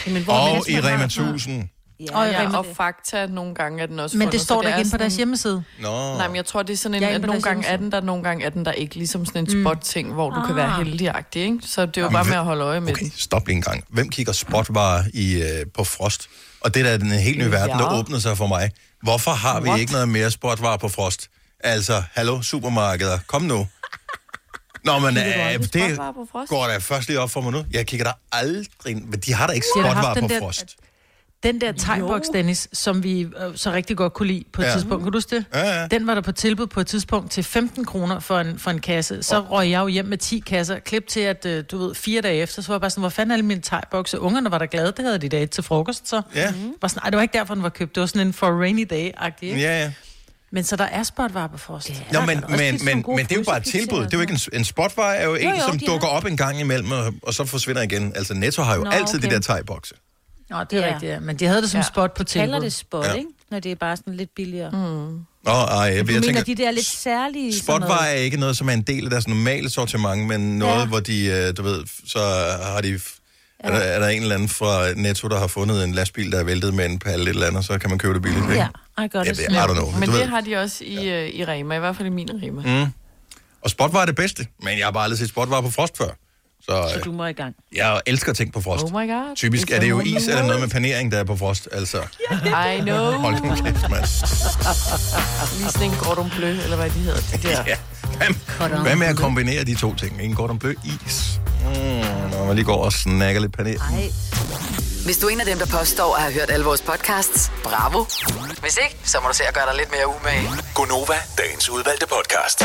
Speaker 6: Men
Speaker 1: Og i Rema 1000.
Speaker 6: Ja,
Speaker 2: Og
Speaker 6: og,
Speaker 2: i Rema-
Speaker 6: ja, og Fakta, nogle gange er den også
Speaker 2: Men
Speaker 6: fundet,
Speaker 2: det står
Speaker 6: så
Speaker 2: der
Speaker 6: er
Speaker 2: ikke inde på deres
Speaker 6: sådan-
Speaker 2: hjemmeside.
Speaker 1: Nå.
Speaker 6: Nej, men jeg tror, det er sådan en,
Speaker 2: Ja, inde
Speaker 6: ja, at
Speaker 2: på
Speaker 6: nogle
Speaker 2: deres
Speaker 6: gange er den der, nogle gange er den der ikke. Ligesom sådan en
Speaker 2: Mm.
Speaker 6: spot-ting, hvor du kan være
Speaker 2: Ah.
Speaker 6: heldigagtig, ikke? Så det er jo
Speaker 1: Men
Speaker 6: bare
Speaker 1: hvem-
Speaker 6: med at holde øje med
Speaker 1: Okay, stop lige en gang. Hvem kigger spotvarer i, øh, på frost? Og det der er den helt nye verden, der
Speaker 6: Ja.
Speaker 1: åbnede sig for mig. Hvorfor har vi
Speaker 6: What?
Speaker 1: ikke noget mere spotvarer på frost? Altså, hallo, supermarkeder, kom nu. Nå, men
Speaker 6: Kigger du
Speaker 1: øh,
Speaker 6: aldrig
Speaker 1: det
Speaker 6: spotvarer på frost?
Speaker 1: går da først lige op for mig nu. Jeg kigger der aldrig... Men de har da ikke
Speaker 2: De har da haft
Speaker 1: spotvarer på
Speaker 2: den der-
Speaker 1: frost.
Speaker 2: Den der tegnboks, Dennis, som vi øh, så rigtig godt kunne lide på et
Speaker 1: Ja.
Speaker 2: ja. tidspunkt, kan du huske det?
Speaker 1: Ja, ja.
Speaker 2: Den var der på tilbud på et tidspunkt til 15 kroner for en, for en kasse. Så oh. røg jeg jo hjem med 10 kasser. Klip til, at øh, du ved, fire dage efter, så var jeg bare sådan, hvor fanden er alle mine tegbokse? Ungerne var der glade, det havde de da et til frokost. Så Mm-hmm.
Speaker 1: Ja.
Speaker 2: var sådan, "Ej, det var ikke derfor, den var købt. Det var sådan en for a rainy day-agtig. ikke?
Speaker 1: Ja, ja.
Speaker 2: Men så der er spotvarer på frost.
Speaker 1: Nå, men, men, men, men det er jo bare et tilbud. Det er jo ikke en, en spotvare, er jo en,
Speaker 2: Jo, jo,
Speaker 1: som
Speaker 2: de
Speaker 1: dukker op en gang imellem, og, og så forsvinder igen. Altså, Netto har jo
Speaker 3: Nå,
Speaker 1: altid de
Speaker 3: okay.
Speaker 1: der tegbokse.
Speaker 2: Nå, det er
Speaker 3: Ja.
Speaker 2: rigtigt, ja. Men de havde det som spot på
Speaker 3: De kalder
Speaker 2: tilbud.
Speaker 3: det spot,
Speaker 1: Ja.
Speaker 3: ja. ikke? Når det er bare sådan lidt billigere. Mm.
Speaker 1: Nå, ej, jeg,
Speaker 3: Jeg
Speaker 1: jeg
Speaker 3: du mener,
Speaker 1: tænker,
Speaker 3: de der lidt særlige... sådan noget-
Speaker 1: Spotvar er ikke noget, som er en del af deres normale sortiment, men noget, ja.
Speaker 3: Ja.
Speaker 1: hvor de, øh, du ved, f- så har de... f- Er der, er der en eller anden fra Netto, der har fundet en lastbil, der er væltet med en palle et eller andet, så kan man købe det billigt, ikke?
Speaker 6: Ja,
Speaker 3: I
Speaker 1: Ja,
Speaker 6: godt
Speaker 1: det- I don't know.
Speaker 6: Men
Speaker 1: Du ved-
Speaker 6: det har de også i, øh, i Rema, i hvert fald i min Rema.
Speaker 1: Mm. Og spotvar er det bedste, men jeg har bare aldrig set spotvar på frost før. Så,
Speaker 6: Så
Speaker 1: øh,
Speaker 6: du må i gang.
Speaker 1: jeg elsker ting på frost.
Speaker 6: Oh my god.
Speaker 1: Typisk er det jo is eller noget med panering, der er på frost, altså.
Speaker 6: I know.
Speaker 1: Hold nu kæft, mand.
Speaker 6: Lige sådan en cordon bleu, eller hvad de hedder. Det der.
Speaker 1: ja. Hvad, hvad med at kombinere de to ting? En cordon bleu is. Mm, når man lige går og snakker lidt panering.
Speaker 5: Hvis du er en af dem, der påstår at have hørt alle vores podcasts, bravo. Hvis ikke, så må du se at gøre dig lidt mere umage.
Speaker 12: Gonova, dagens udvalgte podcast.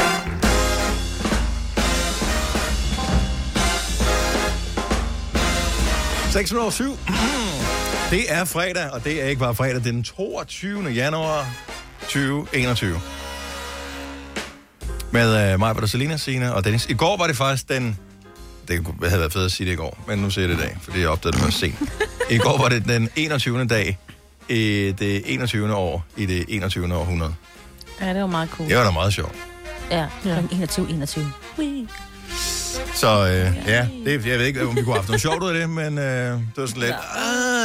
Speaker 1: minutter over syv. Det er fredag, og det er ikke bare fredag, det er den 22. januar 2021. Med øh, mig, og Selina, Sina og Dennis. I går var det faktisk den... Det kunne- havde været fedt at sige det i går, men nu siger jeg det i dag, fordi jeg opdagede det først sent. I går var det den 21. dag i det 21. år i det 21. århundrede.
Speaker 3: Ja, det var meget cool.
Speaker 1: Det var da meget sjovt.
Speaker 3: Ja, ja. 21, 21. Ui.
Speaker 1: Så øh, ja, det, jeg ved ikke, om vi kunne have haft noget sjovt ud af det, men øh, det var sådan lidt...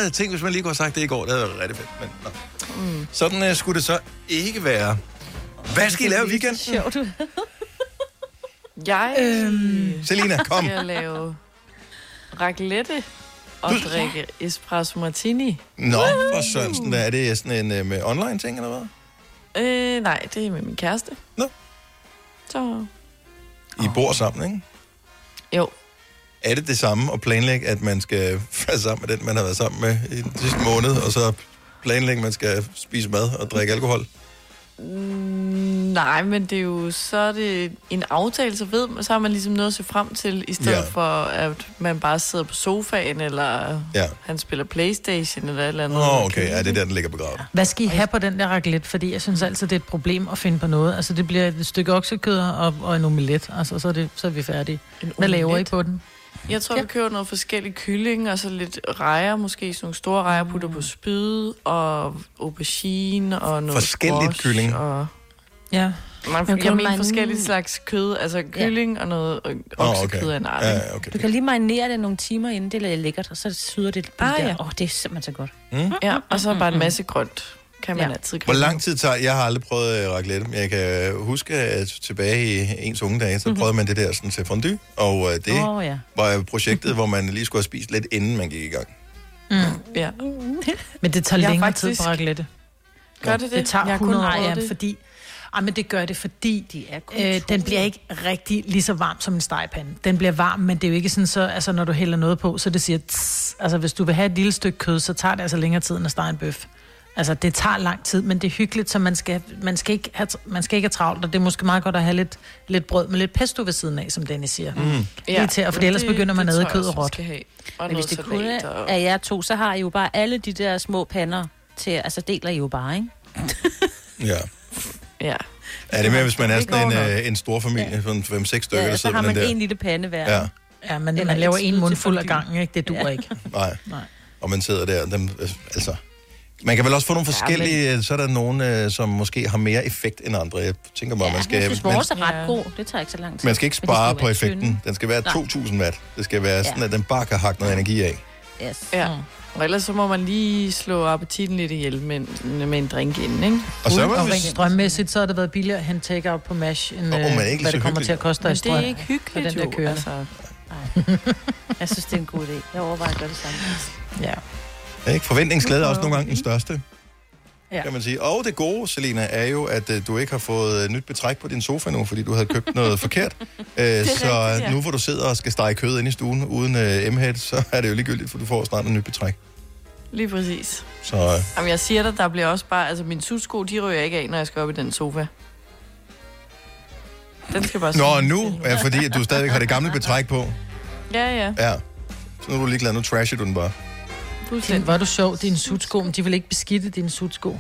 Speaker 1: Ah, tænk, hvis man lige kunne have sagt det i går, det havde været rigtig fedt. Men, nå.
Speaker 6: Mm.
Speaker 1: Sådan øh, skulle det så ikke være. Hvad skal I lave i weekenden?
Speaker 3: Sjovt.
Speaker 6: Jeg øhm,
Speaker 1: Selina, kom.
Speaker 6: skal lave raclette og drikke espresso martini.
Speaker 1: Nå, for Sørensen, hvad er det sådan en øh, med online ting eller hvad?
Speaker 6: Øh, nej, det er med min kæreste.
Speaker 1: Nå.
Speaker 6: Så
Speaker 1: I bor sammen, ikke?
Speaker 6: Jo.
Speaker 1: Er det det samme at planlægge, at man skal være sammen med den, man har været sammen med i den sidste måned, og så planlægge, at man skal spise mad og drikke alkohol?
Speaker 6: Mm, Nej, men det er jo, så er det en aftale, så ved man, så har man ligesom noget at se frem til, i stedet
Speaker 1: Ja.
Speaker 6: ja. for, at man bare sidder på sofaen, eller
Speaker 1: Ja.
Speaker 6: han spiller Playstation, eller et eller andet.
Speaker 1: Åh, oh, okay. Ja, det er der, den ligger begravet.
Speaker 2: Hvad skal I have på den der raclette? Fordi jeg synes altid, det er et problem at finde på noget. Altså, det bliver et stykke oksekød og, og en omelet. Altså, så er, det, så er vi færdige. Hvad laver I
Speaker 6: omelet?
Speaker 2: på den?
Speaker 6: Jeg tror, ja. vi køber noget forskellige kylling, og så lidt rejer, måske sådan nogle store rejer, putter på spyd, og aubergine, og noget
Speaker 1: Forskelligt
Speaker 6: squash,
Speaker 1: kylling.
Speaker 6: Og
Speaker 2: Ja.
Speaker 6: Man,
Speaker 3: kan
Speaker 6: jeg, jeg mener
Speaker 3: mange-
Speaker 6: forskellige slags kød, altså kylling ja. og noget øh, oksekød af en art. ikke?
Speaker 1: okay.
Speaker 3: Du kan lige marinere det nogle timer inden, det er lækkert, og så syder det lidt
Speaker 6: Ah,
Speaker 3: ah, der.
Speaker 6: ja.
Speaker 3: Ja. Åh, det er simpelthen så godt.
Speaker 1: Mm?
Speaker 6: Ja, og så
Speaker 2: Mm-hmm.
Speaker 6: bare en masse grønt, kan man
Speaker 3: Ja.
Speaker 6: altid
Speaker 1: Hvor
Speaker 6: grille.
Speaker 1: lang tid tager... Jeg har aldrig prøvet øh, raclette, men jeg kan huske at tilbage i ens unge dage, så prøvede man det der sådan til fondue, og øh, det
Speaker 3: Åh, ja.
Speaker 1: var øh, projektet, hvor man lige skulle have spist lidt, inden man gik i gang.
Speaker 2: Mm.
Speaker 6: Ja.
Speaker 2: Men det tager
Speaker 6: Jeg har
Speaker 2: længere tid
Speaker 6: faktisk-
Speaker 2: på raclette.
Speaker 6: Gør det det?
Speaker 2: Det tager
Speaker 6: Jeg har kun
Speaker 2: 100 år,
Speaker 6: prøvet
Speaker 2: ja,
Speaker 6: det.
Speaker 2: fordi... Ej, men det gør det, fordi de er
Speaker 3: kun
Speaker 2: øh,
Speaker 3: to.
Speaker 2: den bliver ikke rigtig lige så varm som en stegepande. Den bliver varm, men det er jo ikke sådan, så, altså, når du hælder noget på, så det siger... Tss. Altså, hvis du vil have et lille stykke kød, så tager det altså længere tid, end at stege en bøf. Altså, det tager lang tid, men det er hyggeligt, så man skal, man skal, ikke, have, man skal ikke have travlt, og det er måske meget godt at have lidt, lidt brød med lidt pesto ved siden af, som Dennis siger. Mm. Lige til, og for ellers begynder man at æde kød og råt.
Speaker 3: Men hvis det kun
Speaker 6: salat
Speaker 3: er
Speaker 6: og-
Speaker 3: af jer to, så har I jo bare alle de der små pander til, altså deler I jo bare, ikke?
Speaker 1: Ja.
Speaker 6: Ja.
Speaker 1: Er det med, hvis man er
Speaker 3: Det går
Speaker 1: sådan en,
Speaker 3: nok.
Speaker 1: øh, en stor familie, ja. sådan 5-6 stykker,
Speaker 3: ja,
Speaker 1: der
Speaker 3: så
Speaker 1: sidder
Speaker 3: har
Speaker 1: med
Speaker 3: man
Speaker 1: den der?
Speaker 3: en lille pande hver.
Speaker 1: Ja.
Speaker 2: Ja, men
Speaker 3: Eller
Speaker 2: man laver
Speaker 3: et
Speaker 2: en
Speaker 3: skud til
Speaker 2: mundfuld af
Speaker 3: fondue.
Speaker 2: gangen, ikke? Det duer
Speaker 3: Ja.
Speaker 2: ikke.
Speaker 1: Nej.
Speaker 2: Nej.
Speaker 1: Og man sidder der, dem, øh, altså... Man kan vel også få nogle forskellige, ja, men... så er der nogen, øh, som måske har mere effekt end andre. Jeg tænker bare, ja, man skal...
Speaker 3: Jeg synes,
Speaker 1: man-
Speaker 3: vores er ret god. Det tager ikke så lang tid.
Speaker 1: Man skal ikke
Speaker 3: Men de
Speaker 1: spare
Speaker 3: jo
Speaker 1: på
Speaker 3: være
Speaker 1: effekten.
Speaker 3: tynde.
Speaker 1: Den skal være
Speaker 3: Nej.
Speaker 1: 2000 watt. Det skal være sådan,
Speaker 3: Ja.
Speaker 1: at den bare kan hakke noget energi af.
Speaker 3: Yes.
Speaker 6: Ja.
Speaker 2: Mm.
Speaker 6: Og ellers så må man lige slå appetitten lidt ihjel med, en- med en drink inden, ikke?
Speaker 1: Og så er
Speaker 2: Uden-
Speaker 1: man
Speaker 2: Mm. og
Speaker 1: hvis-
Speaker 2: rent strømmæssigt, så har det været billigere at hente take-out på MASH, end
Speaker 1: Åh,
Speaker 2: oh,
Speaker 1: men ikke
Speaker 2: hvad
Speaker 1: så
Speaker 2: det kommer
Speaker 1: hyggeligt.
Speaker 2: til at koste dig i
Speaker 6: Men det
Speaker 2: strøm.
Speaker 6: er ikke hyggeligt,
Speaker 2: for den der
Speaker 6: jo,
Speaker 2: kører.
Speaker 6: altså.
Speaker 3: Jeg synes, det er en god idé. Jeg overvejer at gøre det samme.
Speaker 2: Ja.
Speaker 1: Er ikke forventningsglæde er også nogle gange den største,
Speaker 2: Ja.
Speaker 1: kan man sige. Og det gode, Selina, er jo, at øh, du ikke har fået øh, nyt betræk på din sofa nu, fordi du havde købt noget forkert. Øh,
Speaker 6: rigtigt,
Speaker 1: så
Speaker 6: ja.
Speaker 1: nu hvor du sidder og skal stege kød ind i stuen uden øh, M-head, så er det jo ligegyldigt, for du får snart en nyt betræk.
Speaker 6: Lige præcis.
Speaker 1: Så øh,
Speaker 6: Jamen, jeg siger dig, der bliver også bare... Altså, mine sudsko, de rører jeg ikke af, når jeg skal op i den sofa. Den skal bare...
Speaker 1: Nå,
Speaker 6: sidde
Speaker 1: nu
Speaker 6: stille.
Speaker 1: er fordi, at du stadigvæk har det gamle betræk på.
Speaker 6: Ja, ja.
Speaker 1: Ja. Så nu er du ligeglad, nu trasher du den bare.
Speaker 2: Din, var du sjov, dine sutsko, men de vil ikke beskidte dine sutsko.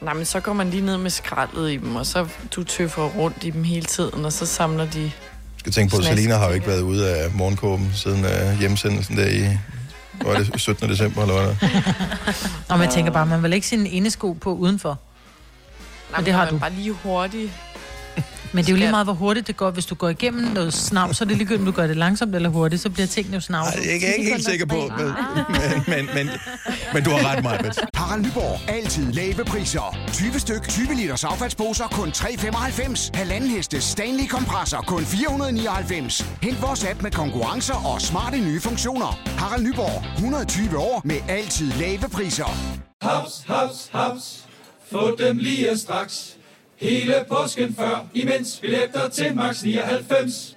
Speaker 6: Nej, men så går man lige ned med skraldet i dem, og så du tøffer rundt i dem hele tiden, og så samler de...
Speaker 1: Jeg tænker på, at
Speaker 6: Smask.
Speaker 1: Selina har jo ikke været ude af morgenkåben siden øh, hjemsendelsen der i... Hvor er det 17. december, eller hvad? der?
Speaker 2: Og man tænker bare, man vil ikke sine indesko på udenfor.
Speaker 6: Nej,
Speaker 2: det har
Speaker 6: man
Speaker 2: du.
Speaker 6: Bare lige hurtigt.
Speaker 2: Men det er jo lige meget, hvor hurtigt det går. Hvis du går igennem noget snav, så er det ligegyldigt, om du gør det langsomt eller hurtigt, så bliver tingene jo snav.
Speaker 1: Ej, Jeg er ikke helt sikker på, men, men, men, men du har ret, Majbet.
Speaker 8: Harald Nyborg. Altid lave priser. 20 styk, 20 liters affaldsposer kun 3,95. Halvanden heste Stanley kompresser kun 499. Hent vores app med konkurrencer og smarte nye funktioner. Harald Nyborg. 120 år med altid lave priser.
Speaker 9: Haps, haps, haps. Få dem lige straks. Hele påsken før, imens billetter til max 99.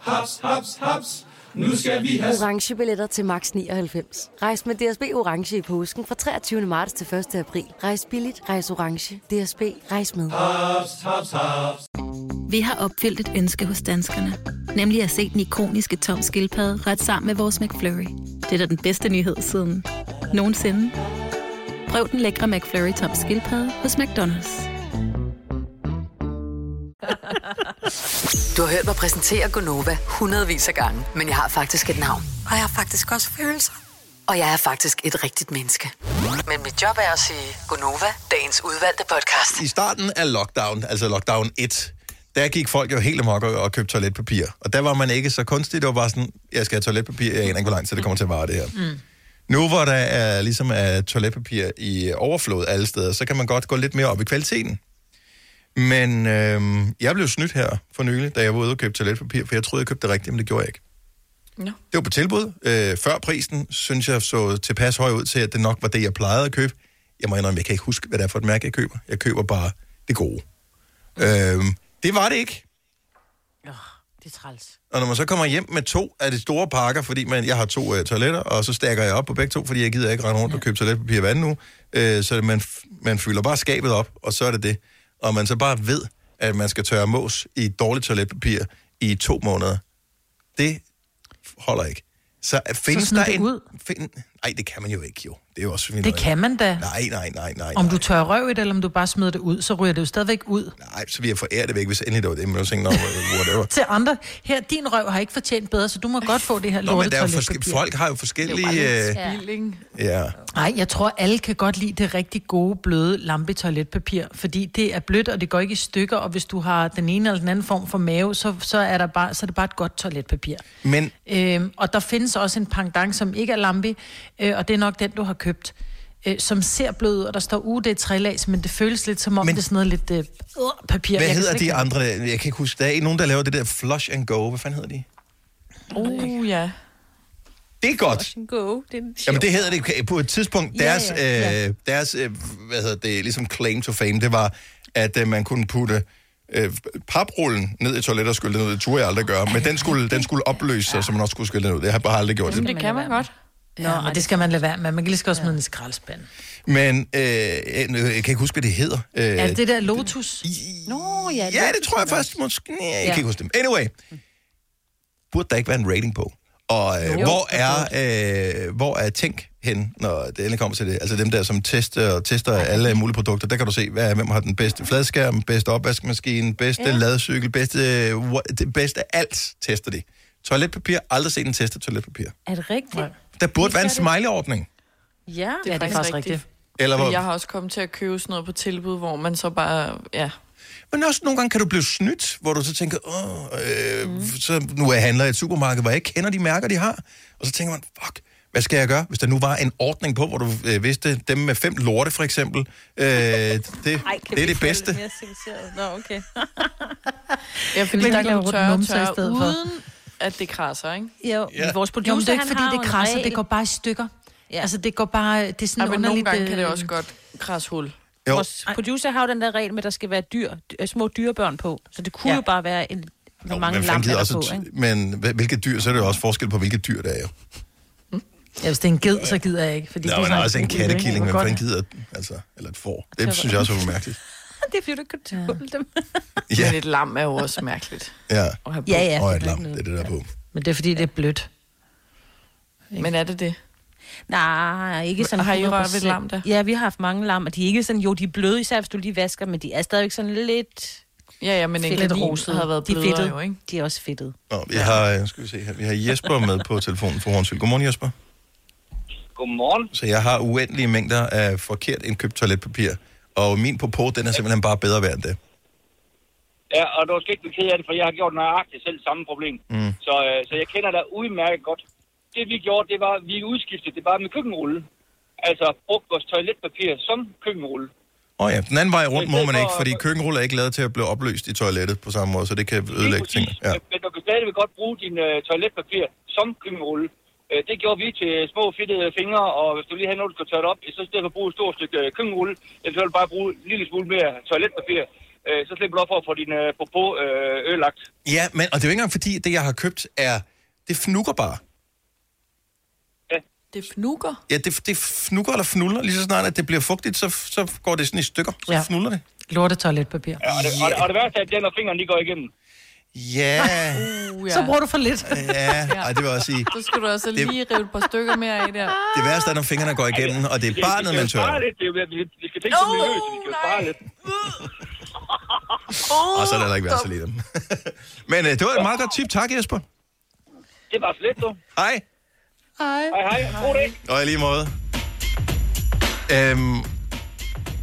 Speaker 9: Haps, haps, haps. Nu skal vi have
Speaker 10: Orange billetter til max 99. Rejs med DSB Orange i påsken fra 23. marts til 1. april. Rejs billigt, rejs orange. DSB, rejs med.
Speaker 9: haps, haps, haps.
Speaker 11: Vi har opfyldt et ønske hos danskerne. Nemlig at se den ikoniske tom skildpadde ret sammen med vores McFlurry. Det er da den bedste nyhed siden nogensinde. Prøv den lækre McFlurry tom skildpadde hos McDonald's.
Speaker 5: Du har hørt mig præsentere Gonova hundredvis af gange, men jeg har faktisk et navn. Og jeg har faktisk også følelser. Og jeg er faktisk et rigtigt menneske. Men mit job er at sige Gonova, dagens udvalgte podcast.
Speaker 1: I starten af lockdown, altså lockdown 1, der gik folk jo helt amok og og købte toiletpapir. Og der var man ikke så kunstig, det var bare sådan, jeg skal have toiletpapir, jeg aner ikke, hvor lang tid det kommer til at vare det her.
Speaker 13: Mm.
Speaker 1: Nu hvor der er, ligesom er toiletpapir i overflod alle steder, så kan man godt gå lidt mere op i kvaliteten. Men øhm, jeg blev snydt her for nylig, da jeg var ude og købe toiletpapir, for jeg troede, jeg købte det rigtigt, men det gjorde jeg ikke.
Speaker 6: Nå.
Speaker 1: Det var på tilbud. Øh, før prisen, synes jeg, så tilpas høj ud til, at det nok var det, jeg plejede at købe. Jeg må indrømme, jeg kan ikke huske, hvad det er for et mærke, jeg køber. Jeg køber bare det gode. Øhm, det var det ikke.
Speaker 3: Det er træls.
Speaker 1: Og når man så kommer hjem med to af de store pakker, fordi man, jeg har to øh, toiletter, og så stakker jeg op på begge to, fordi jeg gider ikke rende rundt og købe toiletpapir hver anden nu. Øh, så man, f- man fylder bare skabet op, og så er det det. og man så bare ved, at man skal tørre mås i dårligt toiletpapir i to måneder, det holder ikke. Så øh, findes
Speaker 2: smid
Speaker 1: der
Speaker 2: det
Speaker 1: en...
Speaker 2: ud.
Speaker 1: Find... Nej, det kan man jo ikke, jo. Det er jo også...
Speaker 2: Det kan man da.
Speaker 1: Nej, nej, nej, nej.
Speaker 2: Om du tør røv i det, eller om du bare smider det ud, så ryger det jo stadigvæk ud
Speaker 1: Nej, så vi har foræret det væk, hvis endelig det var det. Men jeg tænkte, nå, whatever.
Speaker 2: til andre. Her, din røv har ikke fortjent bedre, så du må godt få det her
Speaker 1: Nå, men der er jo
Speaker 2: lortet
Speaker 1: forske- folk har jo forskellige... øh, Ja.
Speaker 2: Nej, jeg tror, alle kan godt lide det rigtig gode, bløde lampe toiletpapir, fordi det er blødt, og det går ikke i stykker, og hvis du har den ene eller den anden form for mave, så, så, er, der bare, så er det bare et godt toiletpapir.
Speaker 1: Men
Speaker 2: Øhm, og der findes også en pangdang, som ikke er lampe, øh, og det er nok den, du har købt, øh, som ser blød ud, og der står, uge, det er trælags, men det føles lidt som om, men, det er sådan noget lidt øh, øh, papir.
Speaker 1: Hvad
Speaker 2: Jeg kan
Speaker 1: hedder
Speaker 2: slet
Speaker 1: de
Speaker 2: ikke-
Speaker 1: andre? Jeg kan ikke huske. Der er nogen, der laver det der flush and go. Hvad fanden hedder de?
Speaker 6: Uh, ja.
Speaker 1: Det er godt.
Speaker 3: Go. Det er
Speaker 1: Jamen, det hedder det på et tidspunkt.
Speaker 3: Ja,
Speaker 1: Deres,
Speaker 3: ja, ja.
Speaker 1: Øh, deres øh, hvad hedder det, ligesom claim to fame, det var, at øh, man kunne putte øh, paprullen ned i toilettet og skylle den ud. Det turde jeg aldrig gøre, men den skulle, den skulle opløse sig, så man også skulle skylle den ud. Det har jeg bare aldrig gjort.
Speaker 2: Jamen, det kan man godt. Nå, ja, men det skal man lade være med. Man kan lige så godt smide den i skraldespanden.
Speaker 1: Men øh, jeg, nu- jeg kan ikke huske, hvad det hedder. Øh,
Speaker 2: Ja, det der lotus.
Speaker 3: Nå, ja.
Speaker 1: Ja, det tror jeg faktisk måske. Nej, jeg kan ikke huske dem. Anyway, burde der ikke være en rating på? Og øh,
Speaker 13: Jo,
Speaker 1: hvor, er, øh, hvor er Tænk hen, når det endelig kommer til det? Altså dem der, som tester, tester alle mulige produkter, der kan du se, hvad, hvem har den bedste fladskærm, bedste opvaskemaskine, bedste
Speaker 13: Ja.
Speaker 1: ja. ladecykel, bedste, øh, what- det bedste af alt tester de. Toiletpapir, aldrig set en teste toiletpapir.
Speaker 3: Er det rigtigt? Nej.
Speaker 1: Der burde
Speaker 6: Vi
Speaker 1: være en
Speaker 6: gør det.
Speaker 1: smileyordning.
Speaker 3: Ja,
Speaker 6: det er, ja, det er faktisk rigtigt. rigtigt.
Speaker 1: Eller hvor-
Speaker 6: Jeg har også kommet til at købe sådan noget på tilbud, hvor man så bare, ja.
Speaker 1: Men også nogle gange kan du blive snydt, hvor du så tænker, åh, øh, mm. så nu er jeg handler i et supermarked, hvor jeg ikke kender de mærker, de har. Og så tænker man, fuck, hvad skal jeg gøre, hvis der nu var en ordning på, hvor du øh, vidste, dem med fem lorte for eksempel, øh, det, Ej, det er det bedste.
Speaker 3: Nå, okay.
Speaker 6: Ja, fordi
Speaker 2: Men
Speaker 6: der
Speaker 2: vi
Speaker 6: kan
Speaker 2: laver
Speaker 6: du
Speaker 2: den
Speaker 6: tørre,
Speaker 2: numse i
Speaker 6: tørre,
Speaker 2: stedet for.
Speaker 6: uden at det krasser, ikke?
Speaker 3: Jo,
Speaker 6: Ja.
Speaker 3: vores producer,
Speaker 2: Jo, men det er ikke,
Speaker 3: han
Speaker 2: fordi
Speaker 3: har
Speaker 2: det
Speaker 3: jo en
Speaker 2: krasser, det
Speaker 3: regel.
Speaker 2: går bare i stykker. Ja. Altså, det går bare... Det er sådan
Speaker 6: Ej, men nogle
Speaker 2: underligt...
Speaker 6: gange kan det
Speaker 2: øh,
Speaker 6: også godt krasse hul.
Speaker 1: Jo.
Speaker 3: Vores producer har jo den der regel med, at der skal være dyr, øh, små dyrebørn på. Så det kunne ja. jo bare være en, hvor mange
Speaker 1: Men, fanden
Speaker 3: lamper
Speaker 1: gider
Speaker 3: der
Speaker 1: også,
Speaker 3: på,
Speaker 1: t-
Speaker 3: ikke?
Speaker 1: men hva- hvilket dyr, så er det jo også forskel på, hvilket dyr det er jo.
Speaker 2: Ja, hvis det er en ged, så gider jeg ikke. Fordi
Speaker 1: Nå,
Speaker 2: det
Speaker 1: men
Speaker 2: sådan-
Speaker 1: også en
Speaker 2: det er jo ikke-
Speaker 1: kattekilling,
Speaker 2: det
Speaker 1: men
Speaker 2: går
Speaker 1: fanden
Speaker 2: godt.
Speaker 1: gider, altså, eller et får. Det synes jeg også var mærkeligt.
Speaker 3: det er fordi, du ikke kan tåle dem.
Speaker 1: Ja.
Speaker 6: Men et lam er jo også mærkeligt.
Speaker 1: Ja,
Speaker 6: At have på.
Speaker 2: Ja, ja.
Speaker 1: og et lam, det er det der er på.
Speaker 2: Men det er fordi, det er blødt.
Speaker 6: Men er det det?
Speaker 3: Nej, ikke sådan
Speaker 6: Har I rørt ved
Speaker 3: 100%.
Speaker 6: lam da?
Speaker 3: Ja, vi har haft mange lam, og de er ikke sådan, jo, de er bløde, især hvis du lige vasker, men de er stadigvæk sådan lidt...
Speaker 6: Ja, ja, men en
Speaker 3: lidt
Speaker 6: kanin
Speaker 3: rosede.
Speaker 6: havde været
Speaker 3: de er
Speaker 6: blødere
Speaker 3: fedtede.
Speaker 6: jo, ikke?
Speaker 3: De er også fedtede.
Speaker 1: Nå, vi har, øh, skal vi se her, vi har Jesper med på telefonen fra Hornsøl. Godmorgen, Jesper.
Speaker 14: Godmorgen.
Speaker 1: Så jeg har uendelige mængder af forkert indkøbt toiletpapir, og min på den er simpelthen bare bedre værd end det.
Speaker 14: Ja, og du skal ikke blive ked af det, for jeg har gjort nøjagtigt selv samme problem.
Speaker 1: Mm.
Speaker 14: Så, øh, så jeg kender dig udmærket godt. Det vi gjorde, det var, vi udskiftede det bare med køkkenrulle. Altså brugte vores toiletpapir som køkkenrulle.
Speaker 1: Åh oh ja, den anden vej rundt må
Speaker 14: Men
Speaker 1: man
Speaker 14: det
Speaker 1: ikke,
Speaker 14: var-
Speaker 1: fordi køkkenruller er ikke lavet til at blive opløst i toilettet på samme måde, så det kan ødelægge ting. Ja.
Speaker 14: Men du kan stadigvæk godt bruge din øh, toiletpapir som køkkenrulle. Øh, det gjorde vi til små fedtede fingre, og hvis du lige havde noget, du skulle tørre det op, i, så i stedet for at bruge et stort stykke øh, køkkenrulle, så ville du bare bruge en lille smule mere toiletpapir. Øh, så slipper du op for at få din øh, popo øh, ødelagt.
Speaker 1: ja, men og det er jo ikke engang fordi, det jeg har købt er, det fnukker bare.
Speaker 6: Det fnukker.
Speaker 1: Ja, det, det fnukker eller fnuller. Lige så snart, at det bliver fugtigt, så, så går det sådan i stykker. Så ja. fnuller det.
Speaker 2: Lorte toiletpapir.
Speaker 14: Og det, og, det, og det værste er, at den og fingrene, de går igennem.
Speaker 1: Ja,
Speaker 6: Uh, ja.
Speaker 2: Så bruger du for
Speaker 1: Øh,
Speaker 2: lidt.
Speaker 1: ja. Ej, det vil jeg også sige.
Speaker 6: Så skal du altså
Speaker 1: Det-
Speaker 6: lige rive et par stykker mere af der.
Speaker 1: Det værste er, når fingrene går igennem, og det er barnet, man tør.
Speaker 14: lidt. Det er, jo- vi, vi skal tænke på miljøet, så vi skal jo spare lidt.
Speaker 1: Og så er det heller ikke værd at lide dem. Men øh, det var et meget godt tip. Tak, Jesper.
Speaker 14: Det var slet, du.
Speaker 1: Hej.
Speaker 2: Hej.
Speaker 14: Hej, hej. God dag.
Speaker 1: Og i lige måde. Øhm,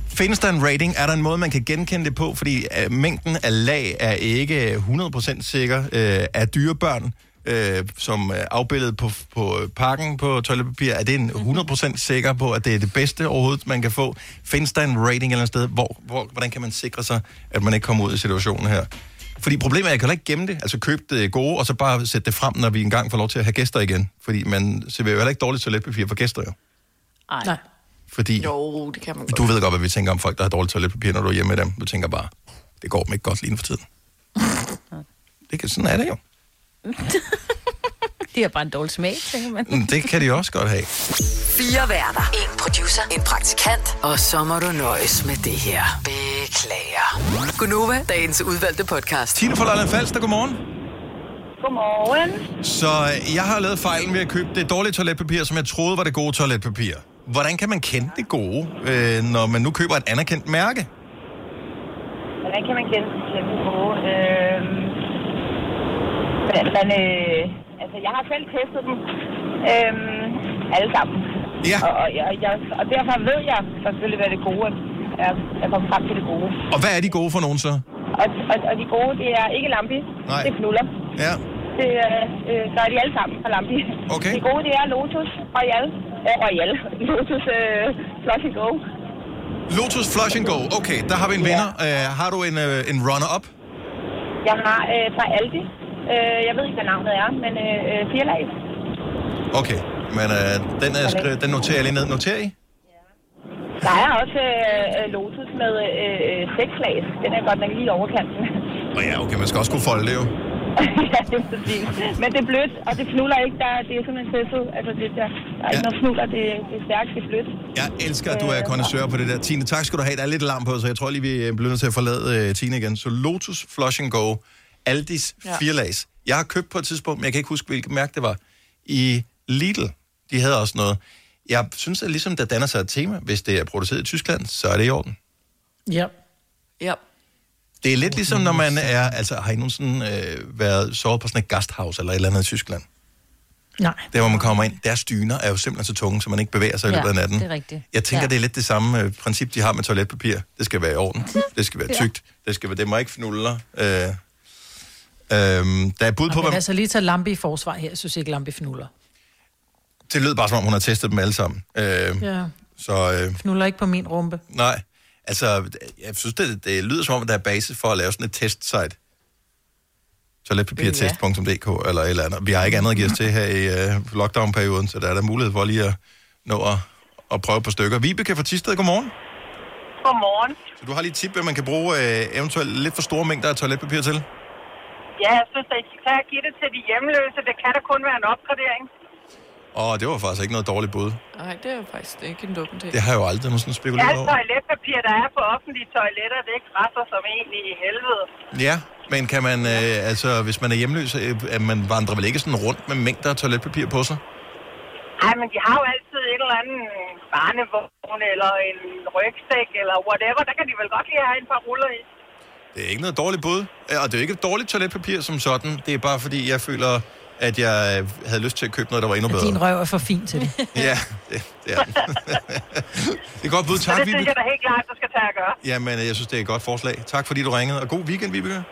Speaker 1: findes der en rating? Er der en måde, man kan genkende det på? Fordi øh, mængden af lag er ikke 100% sikker øh, af dyrebørn, øh, som er afbildet på, på pakken på toiletpapir. Er det en 100% sikker på, at det er det bedste overhovedet, man kan få? Findes der en rating et eller andet sted? Hvor, hvor, hvordan kan man sikre sig, at man ikke kommer ud i situationen her? Fordi problemet er, at jeg kan heller ikke gemme det. Altså købe det gode, og så bare sætte det frem, når vi engang får lov til at have gæster igen. Fordi man serverer jo heller ikke dårligt toiletpapir for gæster jo.
Speaker 6: Ej.
Speaker 2: Nej.
Speaker 1: Fordi
Speaker 6: Jo, det kan man godt.
Speaker 1: du ved godt, hvad vi tænker om folk, der har dårligt toiletpapir, når du er hjemme med dem. Du tænker bare, det går dem ikke godt lige nu for tiden. Det kan, sådan er det jo.
Speaker 3: Det er bare en dårlig smag, tænker man.
Speaker 1: Mm, Det kan de også godt have.
Speaker 5: Fire værter. En producer. En praktikant. Og så må du nøjes med det her. Beklager. Gunova, dagens udvalgte podcast.
Speaker 1: Tine fra Lolland Falster, godmorgen.
Speaker 13: Godmorgen.
Speaker 1: Så øh, jeg har lavet fejlen ved at købe det dårlige toiletpapir, som jeg troede var det gode toiletpapir. Hvordan kan man kende det gode, øh, når man nu køber et anerkendt mærke?
Speaker 13: Hvordan kan man kende til den gode? Øh, man, øh, altså, jeg har selv testet dem. Øh, alle sammen.
Speaker 1: Ja.
Speaker 13: Og, og, jeg, jeg, og derfor ved jeg selvfølgelig, hvad det gode er. Jeg kommer frem til det gode.
Speaker 1: Og hvad er de gode for nogen så?
Speaker 13: Og, og, og de gode, det er ikke lampi.
Speaker 1: Nej.
Speaker 13: Det er knuller.
Speaker 1: Ja.
Speaker 13: Det, er, øh, så er de alle sammen fra lampi.
Speaker 1: Okay.
Speaker 13: Det gode, det er Lotus Royal. Øh, Royal. Lotus øh, Flush and Go.
Speaker 1: Lotus Flush and Go. Okay, der har vi en vinder. Øh, har du en, øh, en runner-up?
Speaker 13: Jeg har øh, fra Aldi. Øh, jeg ved ikke, hvad navnet er, men øh, øh, firlag.
Speaker 1: Okay, men øh, den, er skri- den noterer jeg lige ned. Noterer I?
Speaker 13: Der er også øh, øh, Lotus med øh, øh, seks lag. Den er godt nok lige i overkanten.
Speaker 1: Og ja, okay, man skal også kunne folde det jo.
Speaker 13: ja, det er præcis. Men det er blødt, og det fnuller ikke. Der, det er simpelthen testet. Altså, det, der, der er ikke noget fnuller. Det, det er stærkt, det er blødt.
Speaker 1: Jeg elsker, at du er kondensør på det der. Tine, tak skal du have. Der er lidt larm på, så jeg tror lige, vi øh, bliver nødt til at forlade øh, Tine igen. Så Lotus Flush and Go, Aldis
Speaker 6: Ja.
Speaker 1: ja. firelags. Jeg har købt på et tidspunkt, men jeg kan ikke huske, hvilket mærke det var, i Lidl. De havde også noget. Jeg synes, at ligesom der danner sig et tema, hvis det er produceret i Tyskland, så er det i orden.
Speaker 2: Ja.
Speaker 6: Ja.
Speaker 1: Det er lidt ligesom, når man er... Altså, har I nogensinde øh, været sovet på sådan et gasthaus eller et eller andet i Tyskland?
Speaker 2: Nej.
Speaker 1: Der, hvor man kommer ind, deres dyner er jo simpelthen så tunge, så man ikke bevæger sig i løbet af natten.
Speaker 3: det er rigtigt.
Speaker 1: Jeg tænker,
Speaker 3: ja.
Speaker 1: ja. det er lidt det samme øh, princip, de har med toiletpapir. Det skal være i orden. Det skal være
Speaker 2: Ja.
Speaker 1: tykt. Det, skal være, det må ikke fnuller. Øh, øh, der er et bud på,
Speaker 2: Men
Speaker 1: hvad... Mm.
Speaker 2: altså lige tage lampe i forsvar her, jeg synes ikke, lampe fnuller.
Speaker 1: Det lød bare, som om hun har testet dem alle sammen. Øh,
Speaker 2: Ja.
Speaker 1: Så øh,
Speaker 2: Fnuller ikke på min rumpe.
Speaker 1: nej. Altså, jeg synes, det, det lyder som om, at der er basis for at lave sådan et testsite. Toiletpapirtest.dk eller et eller andet. Vi har ikke andet at give os til her i øh, lockdown-perioden, så der er der mulighed for lige at nå at, at prøve på stykker. Vibeke fra Tisted, godmorgen.
Speaker 13: Godmorgen.
Speaker 1: Så du har lige et tip, hvad man kan bruge øh, eventuelt lidt for store mængder af toiletpapir til?
Speaker 15: Ja, jeg synes, at I skal tage og give det til de hjemløse. Det kan da kun være en opgradering.
Speaker 1: Og det var faktisk ikke noget dårligt bud.
Speaker 6: Nej, det er jo faktisk ikke en dum idé.
Speaker 1: Det har jeg jo aldrig nogensinde spekuleret
Speaker 15: Alt
Speaker 1: over.
Speaker 15: toiletpapir, der er på offentlige toiletter, det krasser som egentlig i helvede.
Speaker 1: Ja, men kan man, øh, altså hvis man er hjemløs, øh, at man vandrer vel ikke sådan rundt med mængder af toiletpapir på sig?
Speaker 15: Ej, men de har jo altid et eller andet barnevogn eller en rygsæk eller whatever. Der kan de vel godt lige have en par ruller i.
Speaker 1: Det er ikke noget dårligt bud, øh, og det er jo ikke et dårligt toiletpapir som sådan. Det er bare fordi, jeg føler, at jeg øh, havde lyst til at købe noget, der var endnu
Speaker 2: At
Speaker 1: bedre.
Speaker 2: din røv er for fin til det.
Speaker 1: Ja, det, det er det. det er et godt bud,
Speaker 15: Så
Speaker 1: tak,
Speaker 15: det synes
Speaker 1: Vibeke.
Speaker 15: jeg da helt klart, du skal tage og gøre.
Speaker 1: Jamen, øh, jeg synes, det er et godt forslag. Tak fordi du ringede, og god weekend, Vibeke.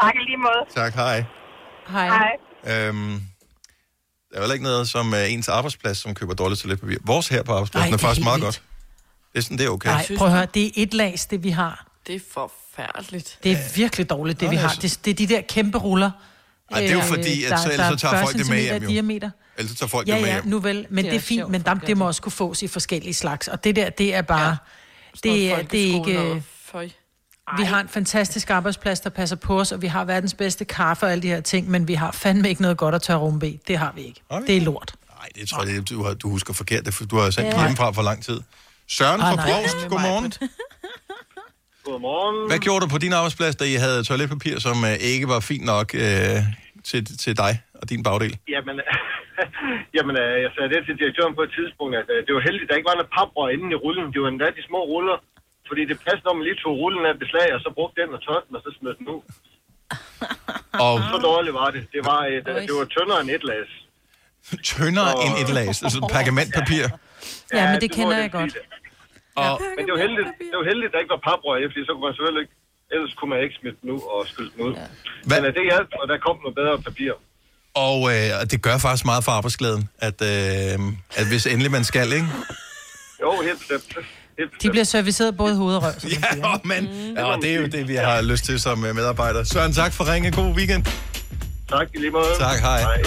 Speaker 15: Tak i lige måde.
Speaker 1: Tak, hej.
Speaker 2: Hej.
Speaker 15: Hej.
Speaker 1: Øhm, der er heller ikke noget som uh, ens arbejdsplads, som køber dårligt toiletpapir. Vores her på
Speaker 2: Ej,
Speaker 1: arbejdspladsen
Speaker 2: det
Speaker 1: er
Speaker 2: er
Speaker 1: faktisk
Speaker 2: helt
Speaker 1: meget
Speaker 2: vildt.
Speaker 1: godt. Det er sådan, det er okay.
Speaker 2: Nej, prøv at høre, det er et lags, det vi har.
Speaker 6: Det er forfærdeligt.
Speaker 2: Det er virkelig dårligt, det
Speaker 6: Nå,
Speaker 2: vi
Speaker 6: jeg
Speaker 2: har.
Speaker 6: synes-
Speaker 2: Det, det er de der kæmpe ruller.
Speaker 1: Ej, det er jo
Speaker 2: øh,
Speaker 1: fordi, at
Speaker 2: der-
Speaker 1: så- ellers
Speaker 2: der er
Speaker 1: så tager
Speaker 2: 40
Speaker 1: folk det med hjem,
Speaker 2: centimeter
Speaker 1: jo.
Speaker 2: diameter.
Speaker 1: Ellers så tager folk
Speaker 2: ja,
Speaker 1: det med
Speaker 2: ja,
Speaker 1: hjem.
Speaker 2: nu vel, men det er, det er fint, men der, det må også kunne fås i forskellige slags. Og det der, det er bare... Ja. Det, er, det er ikke... øh,
Speaker 6: Føj.
Speaker 2: Vi har en fantastisk arbejdsplads, der passer på os, og vi har verdens bedste kaffe og alle de her ting, men vi har fandme ikke noget godt at tørre rumpe i. Det har vi ikke.
Speaker 1: Ej.
Speaker 2: Det er lort.
Speaker 1: Nej, det tror jeg, det er- du, har, du husker forkert. Det, er for- du har sendt
Speaker 2: Ja.
Speaker 1: ja. hjemmefra for lang tid. Søren
Speaker 2: Ej,
Speaker 1: fra
Speaker 2: Ah, nej.
Speaker 1: Brost, godmorgen.
Speaker 16: Godmorgen.
Speaker 1: Hvad gjorde du på din arbejdsplads, da I havde toiletpapir, som uh, ikke var fint nok uh, til, til dig og din bagdel?
Speaker 16: Jamen, jamen øh, jeg sagde det til direktøren på et tidspunkt, at øh, det var heldigt, at der ikke var noget paprør inde i rullen. Det var endda de små ruller. Fordi det passede, når man lige tog rullen af beslag, og så brugte den og tørte den, og så smed den ud.
Speaker 1: Og
Speaker 16: Så dårligt var det. Det var, et, øh, det var tyndere end et las.
Speaker 1: tyndere end et lags, altså pergamentpapir.
Speaker 2: Ja, men det
Speaker 16: må
Speaker 2: kender
Speaker 16: den
Speaker 2: jeg godt.
Speaker 16: sige.
Speaker 1: Og,
Speaker 16: Men det var heldigt, det var heldigt, at der ikke var paprør i, fordi så kunne man selvfølgelig ikke, ellers kunne man ikke smide den ud og skylde den ud. Ja. Men øh, det hjalp, og der kom noget bedre papir.
Speaker 1: Og uh, det gør faktisk meget for arbejdsglæden, at, uh, at hvis endelig man skal, ikke?
Speaker 16: Jo, helt bestemt. Helt
Speaker 2: De bliver serviceret både i hoved og røv. som man siger.
Speaker 1: Ja, men ja, og det er jo det, vi har lyst til som øh, medarbejdere. Søren, tak for ringen. God weekend.
Speaker 16: Tak, i lige måde.
Speaker 1: Tak, hej. hej.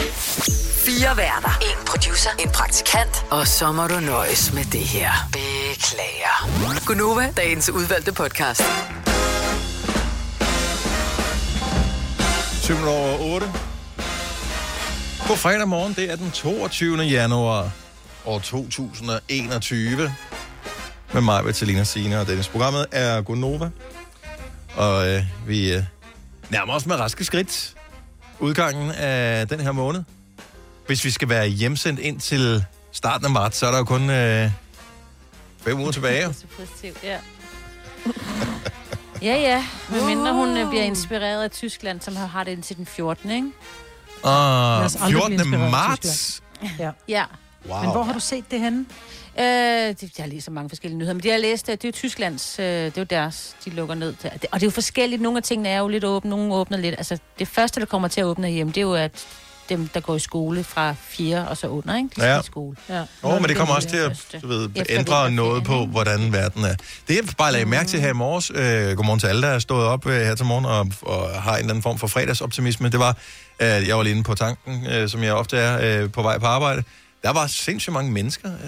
Speaker 5: Fire værter. En producer. En praktikant. Og så må du nøjes med det her. Beklager. Gunova, dagens udvalgte podcast.
Speaker 1: 7 over 8. På fredag morgen, det er den 22. januar år 2021. Med mig, Bettelina Sina og Dennis. Programmet er Gonova. Og øh, vi øh, nærmer os med raske skridt udgangen af den her måned. Hvis vi skal være hjemsendt ind til starten af marts, så er der jo kun øh, fem uger tilbage.
Speaker 3: Så positivt, ja. Ja, ja. Medmindre hun øh,
Speaker 1: Ah.
Speaker 3: bliver inspireret af Tyskland, som har- har det indtil den 14. Ikke?
Speaker 1: Og
Speaker 2: os aldrig blive
Speaker 1: 14.
Speaker 2: inspireret af
Speaker 1: Ah, marts.
Speaker 2: Tyskland. Ja.
Speaker 3: Ja.
Speaker 1: Wow. Men hvor har
Speaker 2: du set det henne?
Speaker 3: Øh, det, jeg har lige så mange forskellige nyheder, men det jeg læste, det er jo Tysklands, øh, det er jo deres, de lukker ned til. Og det er jo forskelligt, nogle af tingene er jo lidt åbne, nogle åbner lidt. Altså det første, der kommer til at åbne hjemme, det er jo at dem, der går i skole fra 4 og så under, ikke? De skal
Speaker 1: Ja.
Speaker 3: i skole. Ja.
Speaker 1: Åh, oh, men det kommer også til at du ved,
Speaker 3: Efter
Speaker 1: ændre noget på, hvordan verden er. Det jeg bare lagde mærke til her i morges, øh, godmorgen til alle, der er stået op øh, her til morgen og, og har en eller anden form for fredagsoptimisme, det var, at jeg var lige inde på tanken, øh, som jeg ofte er øh, på vej på arbejde. Der var sindssygt mange mennesker øh,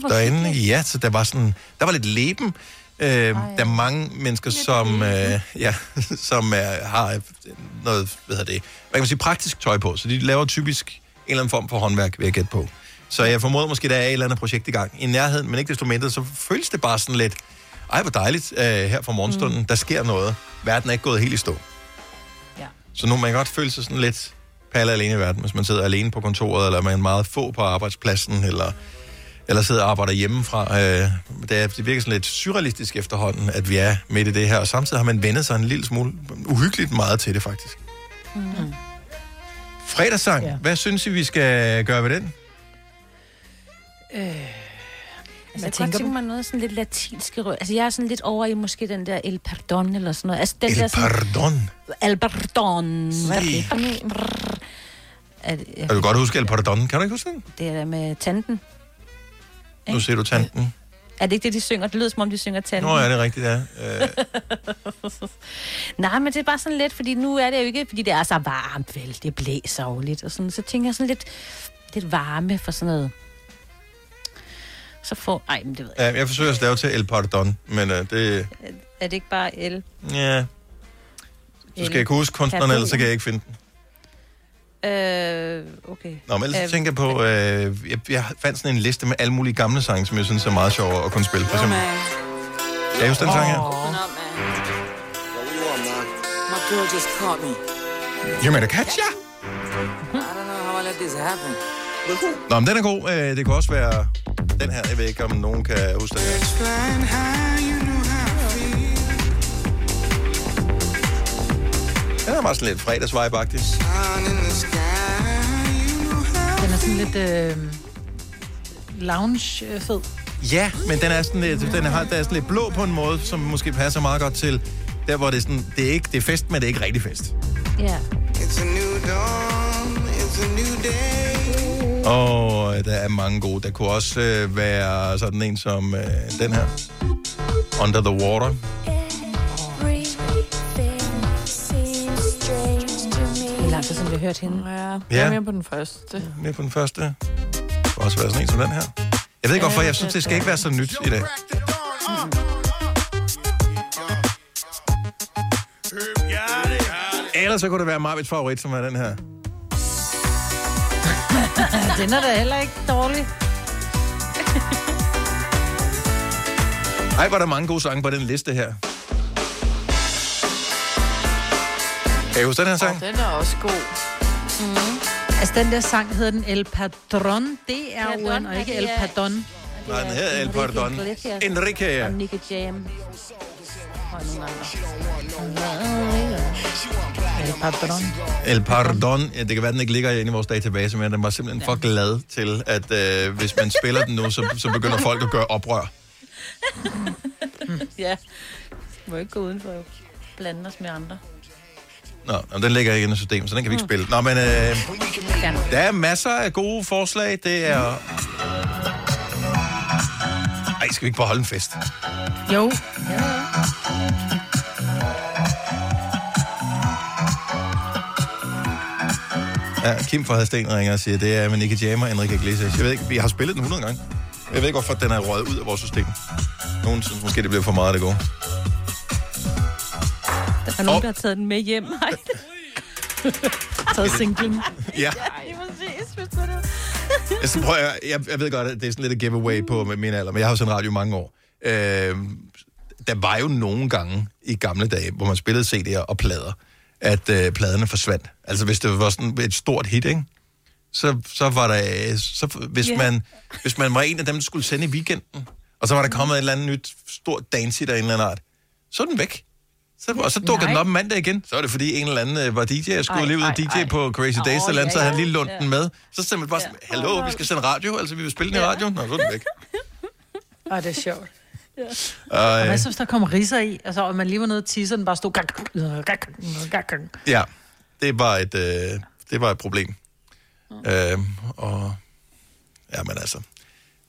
Speaker 3: hvor
Speaker 1: derinde.
Speaker 3: hyggeligt.
Speaker 1: Ja, så der var sådan, der var lidt leben. Øh, der er mange mennesker, som, øh, ja, som er, har noget, hvad hedder det, hvad kan man sige, praktisk tøj på. Så de laver typisk en eller anden form for håndværk, vil jeg gætte på. Så jeg formoder måske, der er et eller andet projekt i gang i nærheden, men ikke desto mindre, så føles det bare sådan lidt, ej, hvor dejligt øh, her fra morgenstunden, mm. der sker noget. Verden er ikke gået helt i stå.
Speaker 3: Ja.
Speaker 1: Så nu man kan godt føle sig sådan lidt palle alene i verden, hvis man sidder alene på kontoret, eller man er meget få på arbejdspladsen, eller, eller sidder og arbejder hjemmefra. Øh, det, er, det virker sådan lidt surrealistisk efterhånden, at vi er midt i det her, og samtidig har man vendet sig en lille smule uhyggeligt meget til det faktisk.
Speaker 3: Mm.
Speaker 1: Fredagssang, ja. hvad synes I, vi skal gøre ved den?
Speaker 3: Øh, altså,
Speaker 2: Hvad
Speaker 3: jeg
Speaker 2: tænker
Speaker 3: kunne godt
Speaker 2: du?
Speaker 3: tænke mig noget sådan lidt latinske røg. Altså, jeg er sådan lidt over i måske den der El Perdon eller sådan noget. Altså, den
Speaker 1: El
Speaker 3: der sådan,
Speaker 1: Pardon.
Speaker 3: El Perdon.
Speaker 1: Hvad
Speaker 3: Der
Speaker 1: er det
Speaker 3: bliver- Brrr. Er det-
Speaker 1: Jeg kan godt huske El Pardon. Kan du ikke huske den?
Speaker 3: Det er der med tanten.
Speaker 1: Nu ser du tanten.
Speaker 3: Er det ikke det, de synger? Det lyder, som om de synger tanten.
Speaker 1: Nå, ja, det er rigtigt, ja. Øh,
Speaker 3: Nej, men det er bare sådan lidt, fordi nu er det jo ikke, fordi det er så varmt, vel? Det blæser jo lidt, og sådan. Så tænker jeg sådan lidt, lidt varme for sådan noget. Så får... Ej, men det ved jeg.
Speaker 1: ja, jeg forsøger at stave til El Pardon, men øh, det...
Speaker 3: Er det ikke bare el?
Speaker 1: Ja. Så skal jeg kunne huske kunstneren, ellers så kan jeg ikke finde den.
Speaker 3: Øh, okay.
Speaker 1: Nå, men ellers
Speaker 3: Øh,
Speaker 1: så tænker jeg på... Øh, jeg, jeg fandt sådan en liste med alle mulige gamle sange, som jeg synes er meget sjovere at kunne spille. For eksempel... Kan I huske den sang her?
Speaker 17: My girl just caught
Speaker 3: Mhm.
Speaker 17: me.
Speaker 1: You made a catch, ja!
Speaker 17: I don't know how I let this happen.
Speaker 1: Nå, men den er god. Øh, det kunne også være den her. Jeg ved ikke, om nogen kan huske den her.
Speaker 17: Explain how you know how I feel.
Speaker 1: Den er meget sådan lidt fredagsvibe-agtig.
Speaker 17: Sun in the sky.
Speaker 2: Den er sådan lidt øh, lounge-fed.
Speaker 1: Ja, men den er sådan lidt, den har, der er sådan lidt blå på en måde, som måske passer meget godt til der, hvor det er sådan, det er, ikke, det er fest, men det er ikke rigtig fest.
Speaker 3: Ja.
Speaker 17: It's a new dawn. It's a new day.
Speaker 1: Og øh, der er mange gode. Der kunne også øh, være sådan en som øh, den her. Under the Water.
Speaker 3: Det er lang tid, som vi hørte hende.
Speaker 6: Ja.
Speaker 1: Ja.
Speaker 6: Jeg er mere på den første.
Speaker 1: Med på den første. Det kunne også være sådan en som den her. Jeg ved ikke hvorfor, jeg synes, det skal ikke være så nyt i dag. Ellers så kunne det være Marvits favorit, som er den her.
Speaker 2: den er da heller ikke dårlig.
Speaker 1: Ej, var der mange gode sange på den liste her. Kan I huske den her sang?
Speaker 6: Den er også god.
Speaker 2: Mm. Altså, den der sang hedder den El Padron. Det er jo og ikke El Padron.
Speaker 1: Nej, den hedder El Pardon. Enrique, ja.
Speaker 3: Og Nicky Jam. Og nogle
Speaker 2: El Padron.
Speaker 1: El Pardon. Ja, det kan være, den ikke ligger inde i vores database, men den var simpelthen for glad til, at øh, hvis man spiller den nu, så, så begynder folk at gøre oprør.
Speaker 3: andre. ja. Må ikke gå udenfor og blande os med andre.
Speaker 1: Nå, men den ligger ikke inde i systemet, så den kan vi ikke spille. Nå, men øh,
Speaker 3: Gerne.
Speaker 1: der er masser af gode forslag. Det er... Ej, skal vi ikke bare holde en fest?
Speaker 2: Jo.
Speaker 1: Ja, Kim fra Hadsten ringer og siger, det er med Nicky Jam og Enrique Iglesias. Jeg ved ikke, vi har spillet den 100 gange. Jeg ved ikke, hvorfor den er røget ud af vores system. Nogen synes måske, det bliver for meget, det går.
Speaker 3: Der er nogen, der har taget den med hjem. Nej.
Speaker 2: taget singlen.
Speaker 1: Ja.
Speaker 3: Lige præcis.
Speaker 1: Altså, prøv, at høre, jeg, jeg ved godt, at det er sådan lidt et giveaway på med min alder, men jeg har jo sendt radio i mange år. Øh, der var jo nogle gange i gamle dage, hvor man spillede CD'er og plader, at øh, pladerne forsvandt. Altså, hvis det var sådan et stort hit, ikke? Så, så var der... øh, Så, hvis,
Speaker 18: Ja.
Speaker 1: yeah. man, hvis man var en af dem, der skulle sende i weekenden, og så var der kommet et eller andet nyt stort dancehit af en eller anden art, så er den væk. Så, og så dukker
Speaker 18: Nej.
Speaker 1: den op mandag igen. Så er det fordi en eller anden øh, var DJ, jeg skulle
Speaker 18: Ej,
Speaker 1: lige ud
Speaker 18: ej,
Speaker 1: og DJ
Speaker 18: ej.
Speaker 1: på Crazy Days,
Speaker 18: Åh,
Speaker 1: oh, eller andet,
Speaker 18: ja,
Speaker 1: så havde
Speaker 18: ja.
Speaker 1: han lige lånt
Speaker 18: Ja.
Speaker 1: den med. Så stemte man bare sådan, hallo, vi skal sende radio, altså vi vil spille den i radioen. Nå, så er den væk.
Speaker 2: Åh, det er sjovt. Og
Speaker 1: Og,
Speaker 2: hvad
Speaker 1: øh,
Speaker 2: så, hvis der kom riser i? Altså, og man lige var nede og tisse, og den bare stod... gak, gak, gak, gak, gak.
Speaker 1: ja, det var et, øh, det var et problem. Øh, og, ja, men altså,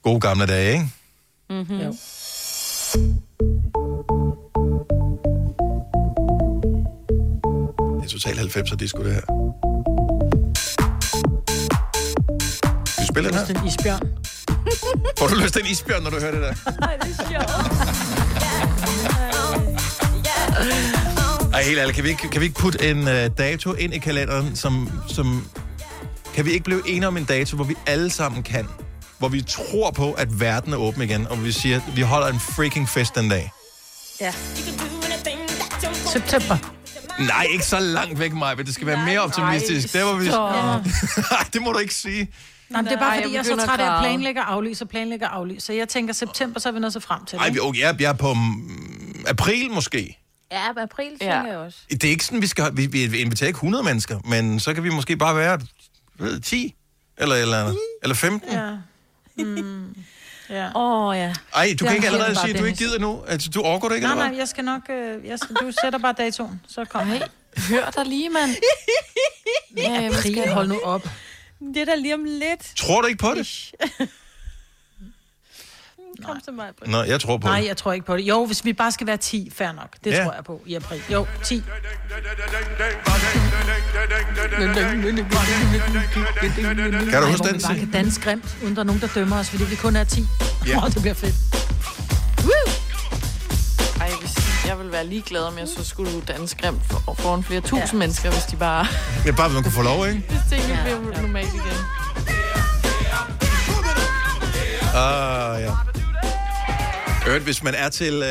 Speaker 1: gode gamle dage, ikke?
Speaker 2: Mm-hmm. Jo.
Speaker 1: Det er totalt 90'er disco, det her. Skal vi spille den her?
Speaker 2: Hvis det er en isbjørn.
Speaker 1: Får du lyst til en isbjørn, når du hører det der?
Speaker 18: Ej, det er sjovt.
Speaker 1: Ej, helt ærligt, kan vi ikke, kan vi ikke putte en øh, dato ind i kalenderen, som, som... Kan vi ikke blive enige om en dato, hvor vi alle sammen kan? Hvor vi tror på, at verden er åben igen, og hvor vi siger, at vi holder en freaking fest den dag.
Speaker 2: Ja. September.
Speaker 1: Nej, ikke så langt væk, Maja, men det skal være mere optimistisk.
Speaker 2: nej,
Speaker 1: Det, var vi...
Speaker 2: stop.
Speaker 1: Nej, det må du ikke sige.
Speaker 2: Nej, men det er bare,
Speaker 6: Nej,
Speaker 2: fordi
Speaker 6: jeg
Speaker 2: jeg er så
Speaker 6: begynder at
Speaker 2: træt af at
Speaker 6: græde.
Speaker 2: planlægge og aflyse og planlægge og aflyse. Så jeg tænker, september, så er vi nået så frem til
Speaker 1: Ej,
Speaker 2: det.
Speaker 1: vi- okay, jeg jeg er på mm, april måske.
Speaker 3: Ja, april tænker jeg også.
Speaker 1: Det er ikke sådan, vi skal... Vi, vi inviterer ikke 100 mennesker, men så kan vi måske bare være ved, 10 eller et eller andet. Eller 15.
Speaker 2: Ja. Mm. Ja.
Speaker 3: Åh, ja.
Speaker 1: Ej, du
Speaker 2: Det
Speaker 1: kan ikke
Speaker 2: arrangerer
Speaker 1: allerede
Speaker 2: vi bare,
Speaker 1: sige, at du ikke
Speaker 2: Dennis.
Speaker 1: gider nu? Altså, du overgår det ikke,
Speaker 2: Nej,
Speaker 1: eller hvad?
Speaker 2: nej, jeg skal nok... Øh, jeg skal, du sætter bare datoen, så kom helt.
Speaker 6: Hør dig lige, mand.
Speaker 2: Ja,
Speaker 6: jeg
Speaker 2: April,
Speaker 6: skal-
Speaker 2: hold nu op.
Speaker 3: Det er da lige om lidt.
Speaker 1: Tror du ikke på det?
Speaker 2: Kom til mig, Britt.
Speaker 1: Nå, jeg tror på
Speaker 2: Nej,
Speaker 1: det.
Speaker 2: jeg tror ikke på det. Jo, hvis vi bare skal være 10, fair nok. Det
Speaker 1: Ja.
Speaker 2: tror jeg på i april. Jo, 10.
Speaker 1: Kan du
Speaker 2: Ej,
Speaker 1: huske
Speaker 2: hvor
Speaker 1: den
Speaker 2: vi bare
Speaker 1: tid?
Speaker 2: kan danse grimt, uden der er nogen, der dømmer os, fordi vi kun er 10.
Speaker 1: Ja.
Speaker 2: Ja. Oh, det bliver fedt.
Speaker 6: Ej, hvis jeg ville være ligeglad, om jeg så skulle danse grimt for, foran flere tusind ja. mennesker, hvis de bare...
Speaker 1: Det er bare, at man kunne få lov, ikke?
Speaker 6: hvis tingene ja. blev normalt igen.
Speaker 1: Ah, ja. Øvrigt, hvis man er til øh,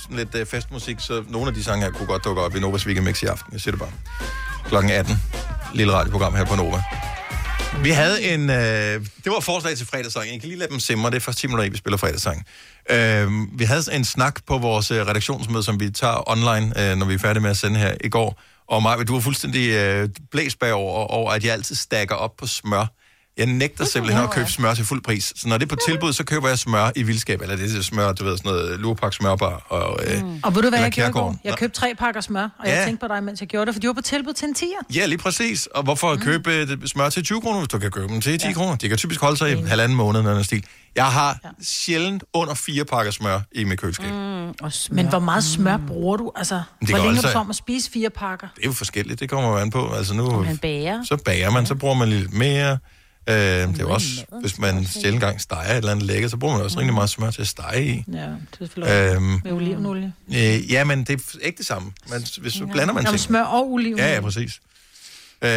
Speaker 1: sådan lidt øh, festmusik, så nogle af de sange her kunne godt dukke op i Novas Weekend Mix i aften. Jeg siger det bare. Klokken 18. Lille radioprogram her på Nova. Vi havde en... Øh, det var et forslag til fredagssang. Jeg kan lige lade dem simre. Det er først 10 minutter, i, vi spiller fredagssang. Øh, vi havde en snak på vores øh, redaktionsmøde, som vi tager online, øh, når vi er færdige med at sende her i går. Og Maja, du var fuldstændig øh, blæst bagover, over at jeg altid stakker op på smør. Jeg nægter simpelthen at købe smør til fuld pris. Så når det er på tilbud, så køber jeg smør i vildskab. Eller det er smør, du ved, sådan noget lurepak smørbar. Og, øh, mm.
Speaker 2: Og ved du, hvad
Speaker 1: eller
Speaker 2: jeg gjorde i går?
Speaker 1: Kærgården.
Speaker 2: Jeg købte tre pakker smør, og
Speaker 1: Ja.
Speaker 2: jeg tænkte på dig, mens jeg gjorde det, for de var på tilbud til en 10'er.
Speaker 1: Ja, lige præcis. Og hvorfor mm. købe øh, smør til 20 kroner, hvis du kan købe dem til 10 ja. kroner? De kan typisk holde sig i halvanden måned, når stil. Jeg har ja. sjældent under fire pakker smør i mit køleskab. Mm.
Speaker 3: Og smør.
Speaker 2: Men hvor meget smør bruger du? Altså,
Speaker 1: det
Speaker 2: hvor
Speaker 1: går
Speaker 2: længe er
Speaker 1: altså-
Speaker 2: du så om at spise fire pakker?
Speaker 1: Det er jo forskelligt, det kommer jo an på. Altså nu,
Speaker 2: Man bager.
Speaker 1: så bager man, så bruger man lidt mere. Øh, det er jo også, hvis man sjældent gang steger et eller andet lækker, så bruger man også mm. rigtig meget smør til at stege i.
Speaker 2: Ja, det er selvfølgelig
Speaker 1: Øhm.
Speaker 2: øhm, med olivenolie.
Speaker 1: Øh, ja, men det er ikke det samme. Man, hvis så blander man
Speaker 2: Nå, men
Speaker 1: ting.
Speaker 2: smør og olivenolie.
Speaker 1: Ja, ja, præcis. Øh,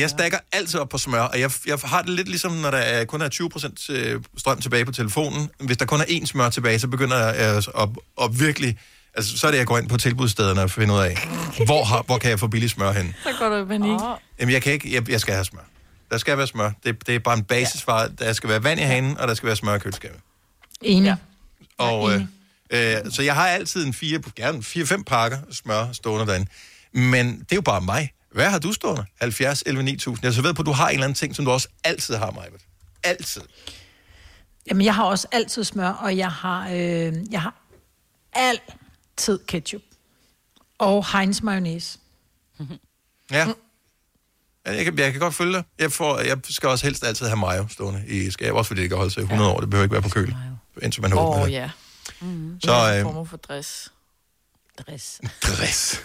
Speaker 1: jeg stakker altid op på smør, og jeg, jeg har det lidt ligesom, når der er, kun er 20% øh, strøm tilbage på telefonen. Hvis der kun er én smør tilbage, så begynder jeg øh, at, at virkelig... Altså, så er det, jeg går ind på tilbudsstederne og finder ud af, hvor, har, hvor kan jeg få billig smør hen?
Speaker 6: Så går du i panik. Oh.
Speaker 1: Jamen, jeg kan ikke... Jeg, jeg skal have smør. Der skal være smør. Det, det er bare en basisvare. Der skal være vand i hanen, og der skal være smør i køleskabet.
Speaker 2: Enig. Ja.
Speaker 1: Og, øh, øh, så jeg har altid en fire, gerne fire-fem pakker smør stående derinde. Men det er jo bare mig. Hvad har du stående? 70, 11, 9000. Jeg er så ved på, at du har en eller anden ting, som du også altid har, mig. Altid.
Speaker 2: Jamen, jeg har også altid smør, og jeg har, øh, jeg har altid ketchup. Og Heinz mayonnaise.
Speaker 1: Ja.
Speaker 6: Mm.
Speaker 1: Ja, Jeg kan, jeg kan godt følge dig. Jeg, får, jeg skal også helst altid have mayo stående i skab, også fordi det kan holde sig i 100 år. Det behøver ikke være på køl, indtil man åbner
Speaker 6: Åh,
Speaker 1: det.
Speaker 6: ja.
Speaker 1: Mm.
Speaker 6: Så,
Speaker 1: Så,
Speaker 6: øh...
Speaker 1: øh,
Speaker 6: Former for dress.
Speaker 3: Dress.
Speaker 1: Dress.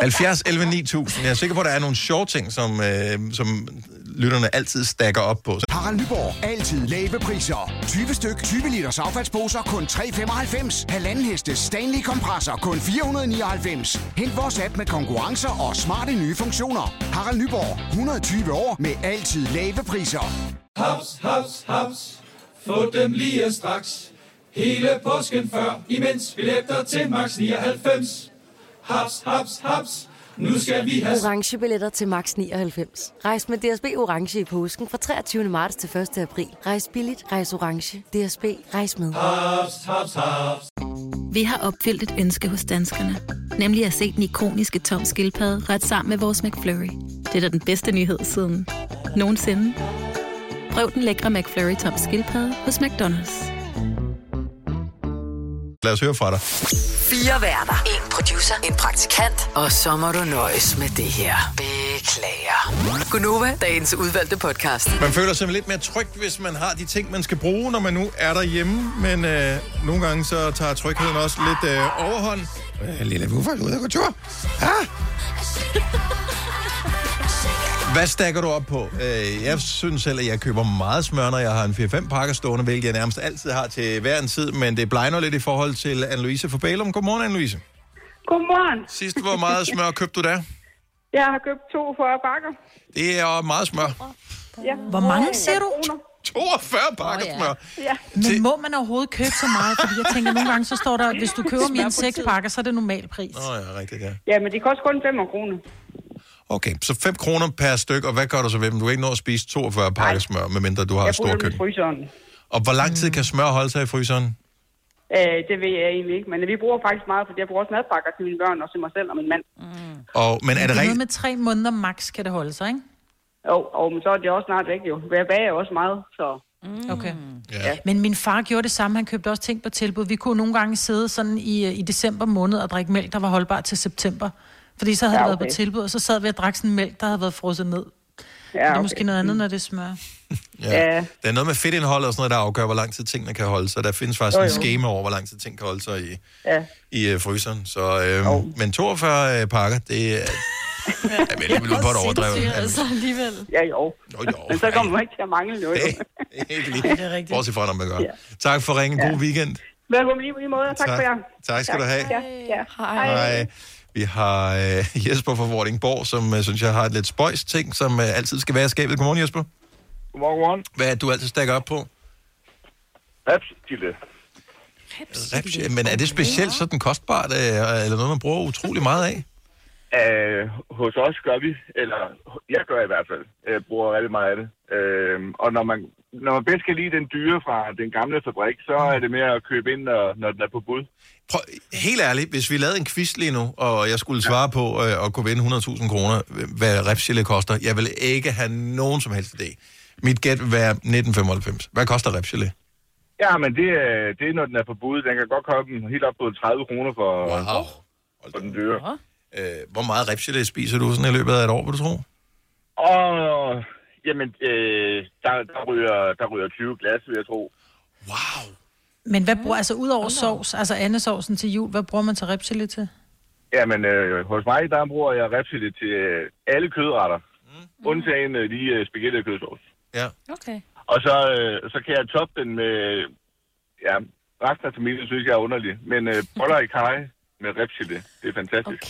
Speaker 1: 70, 11, 9000. Jeg er sikker på, at der er nogle sjove ting, som, øh, som lytterne altid stakker op på. Så-
Speaker 8: Harald Nyborg. Altid lave priser. 20 styk, 20 liters affaldsposer kun 3,95. Halvanden heste Stanley kompresser kun 499. Hent vores app med konkurrencer og smarte nye funktioner. Harald Nyborg. 120 år med altid lave priser.
Speaker 9: Haps, haps, haps. Få dem lige straks. Hele påsken før, imens billetter til max 99. Haps, haps, haps. Nu skal vi have...
Speaker 10: orange billetter til max 99. Rejs med DSB orange i påsken fra 23. marts til 1. april. Rejs billigt, rejs orange. DSB rejs med.
Speaker 9: Haps, haps, haps.
Speaker 11: Vi har opfyldt et ønske hos danskerne. Nemlig at se den ikoniske tom skildpadde ret sammen med vores McFlurry. Det er da den bedste nyhed siden nogensinde. Prøv den lækre McFlurry tom skildpadde hos McDonald's.
Speaker 1: Lad os høre fra dig.
Speaker 5: Fire værter. En producer. En praktikant. Og så må du nøjes med det her. Beklager. Gunova, dagens udvalgte podcast.
Speaker 1: Man føler sig lidt mere tryg, hvis man har de ting, man skal bruge, når man nu er derhjemme. Men øh, nogle gange så tager trygheden også lidt øh, overhånd. Øh, Lille Buffer er ude og gå tur. Ah! Hvad stakker du op på? Øh, jeg synes selv, at jeg køber meget smør, når jeg har en 4-5 pakker stående, hvilket jeg nærmest altid har til hver en tid, men det blegner lidt i forhold til Anne-Louise fra Bælum. Godmorgen, Anne-Louise.
Speaker 18: Godmorgen.
Speaker 1: Sidst, hvor meget smør købte du da?
Speaker 18: Jeg har købt 42 bakker.
Speaker 1: Det er meget smør.
Speaker 18: Ja.
Speaker 2: Hvor mange siger du?
Speaker 1: 42 pakker oh, ja. smør.
Speaker 18: Ja.
Speaker 2: Men må man overhovedet købe så meget? Fordi jeg tænker, nogle gange så står der, hvis du køber mere end seks pakker, så er det normal pris.
Speaker 1: Nå ja, rigtigt, ja.
Speaker 18: Ja, men det koster kun 5 kroner.
Speaker 1: Okay, så 5 kroner per styk, og hvad gør du så ved dem? Du kan ikke nå at spise 42 pakker smør, medmindre du har
Speaker 18: Jeg
Speaker 1: et
Speaker 18: putter
Speaker 1: stort
Speaker 18: dem i
Speaker 1: køkken.
Speaker 18: fryseren.
Speaker 1: Og hvor lang tid kan smør holde sig i fryseren?
Speaker 18: Øh, det ved jeg egentlig ikke, men vi bruger faktisk meget, fordi jeg bruger også madpakker til mine børn og til mig selv og min mand.
Speaker 1: Og, men er det
Speaker 2: noget
Speaker 1: rigtigt?
Speaker 2: med tre måneder max, kan det holde sig, ikke?
Speaker 18: Jo, og men så er det også snart væk jo. Jeg bager også meget, så...
Speaker 2: Okay. Ja. Men min far gjorde det samme. Han købte også ting på tilbud. Vi kunne nogle gange sidde sådan i, øh, i december måned og drikke mælk, der var holdbar til september. Fordi så havde
Speaker 18: Ja,
Speaker 2: ja, okay. det
Speaker 18: okay.
Speaker 2: været på tilbud, og så sad vi og drak sådan en mælk, der havde været frosset ned. Ja, okay. Det er måske noget
Speaker 18: Mm.
Speaker 2: andet, når det smører.
Speaker 1: Ja. Der er noget med fedtindholdet og sådan noget, der afgør, hvor lang tid tingene kan holde sig. Der findes faktisk
Speaker 2: Jo,
Speaker 1: jo, jo.
Speaker 2: jo.
Speaker 1: en schema over, hvor lang tid ting kan holde sig i,
Speaker 18: Ja.
Speaker 1: i øh, fryseren. Så, øh, men 42 øh, pakker, det er... Ja, men det ville på et overdrevet. Altså.
Speaker 18: alligevel. Ja, jo.
Speaker 1: Jo, jo.
Speaker 18: Men så kommer man ikke til at mangle noget. jo.
Speaker 1: Ikke lige. det er rigtigt. Bortset fra, når man gør. Ja. Tak for ringen. God weekend.
Speaker 18: Velkommen lige på lige måde. Tak,
Speaker 1: Tak.
Speaker 18: for jer.
Speaker 1: Tak skal du have.
Speaker 18: Ja, ja.
Speaker 1: Hej. Vi har øh, Jesper fra Vordingborg, som øh, synes jeg har et lidt spøjs ting, som øh, altid skal være i skabet. Godmorgen, Jesper.
Speaker 19: Godmorgen, godmorgen.
Speaker 1: Hvad er det, du altid stakker op på?
Speaker 19: Rapsilde.
Speaker 1: Repsje. Men er det specielt sådan kostbart, øh, eller noget, man bruger utrolig meget af?
Speaker 19: Øh, hos os gør vi, eller jeg gør i hvert fald, øh, bruger rigtig meget af det. Øh, og når man, når man bedst kan lide den dyre fra den gamle fabrik, så er det mere at købe ind, når, når den er på bud.
Speaker 1: Prøv, helt ærligt, hvis vi lavede en quiz lige nu, og jeg skulle svare på øh, at kunne vinde 100.000 kroner, øh, hvad repsjælle koster, jeg vil ikke have nogen som helst idé. Mit gæt vil være 1995. Hvad koster repsjælle?
Speaker 19: Ja, men det, er- det er, når den er på bud. Den kan godt komme helt op på 30 kroner for,
Speaker 1: wow.
Speaker 19: for den dyre.
Speaker 1: Øh, hvor meget repsjælle spiser du sådan i løbet af et år, vil du tro?
Speaker 19: Og jamen, øh, der, der, ryger, der ryger 20 glas, vil jeg tro.
Speaker 2: Men hvad bruger, altså ud over sovs, altså andesovsen til jul, hvad bruger man til ribsili til?
Speaker 19: Jamen, øh, hos mig, der bruger jeg repsille til øh, alle kødretter. Mm. Undtagen øh, lige øh, spaghetti og kødsovs.
Speaker 1: Ja.
Speaker 2: Okay.
Speaker 19: Og så, øh, så kan jeg toppe den med... Ja, resten af familien synes jeg er underlig. Men øh, boller i kaj med repsille, det er fantastisk.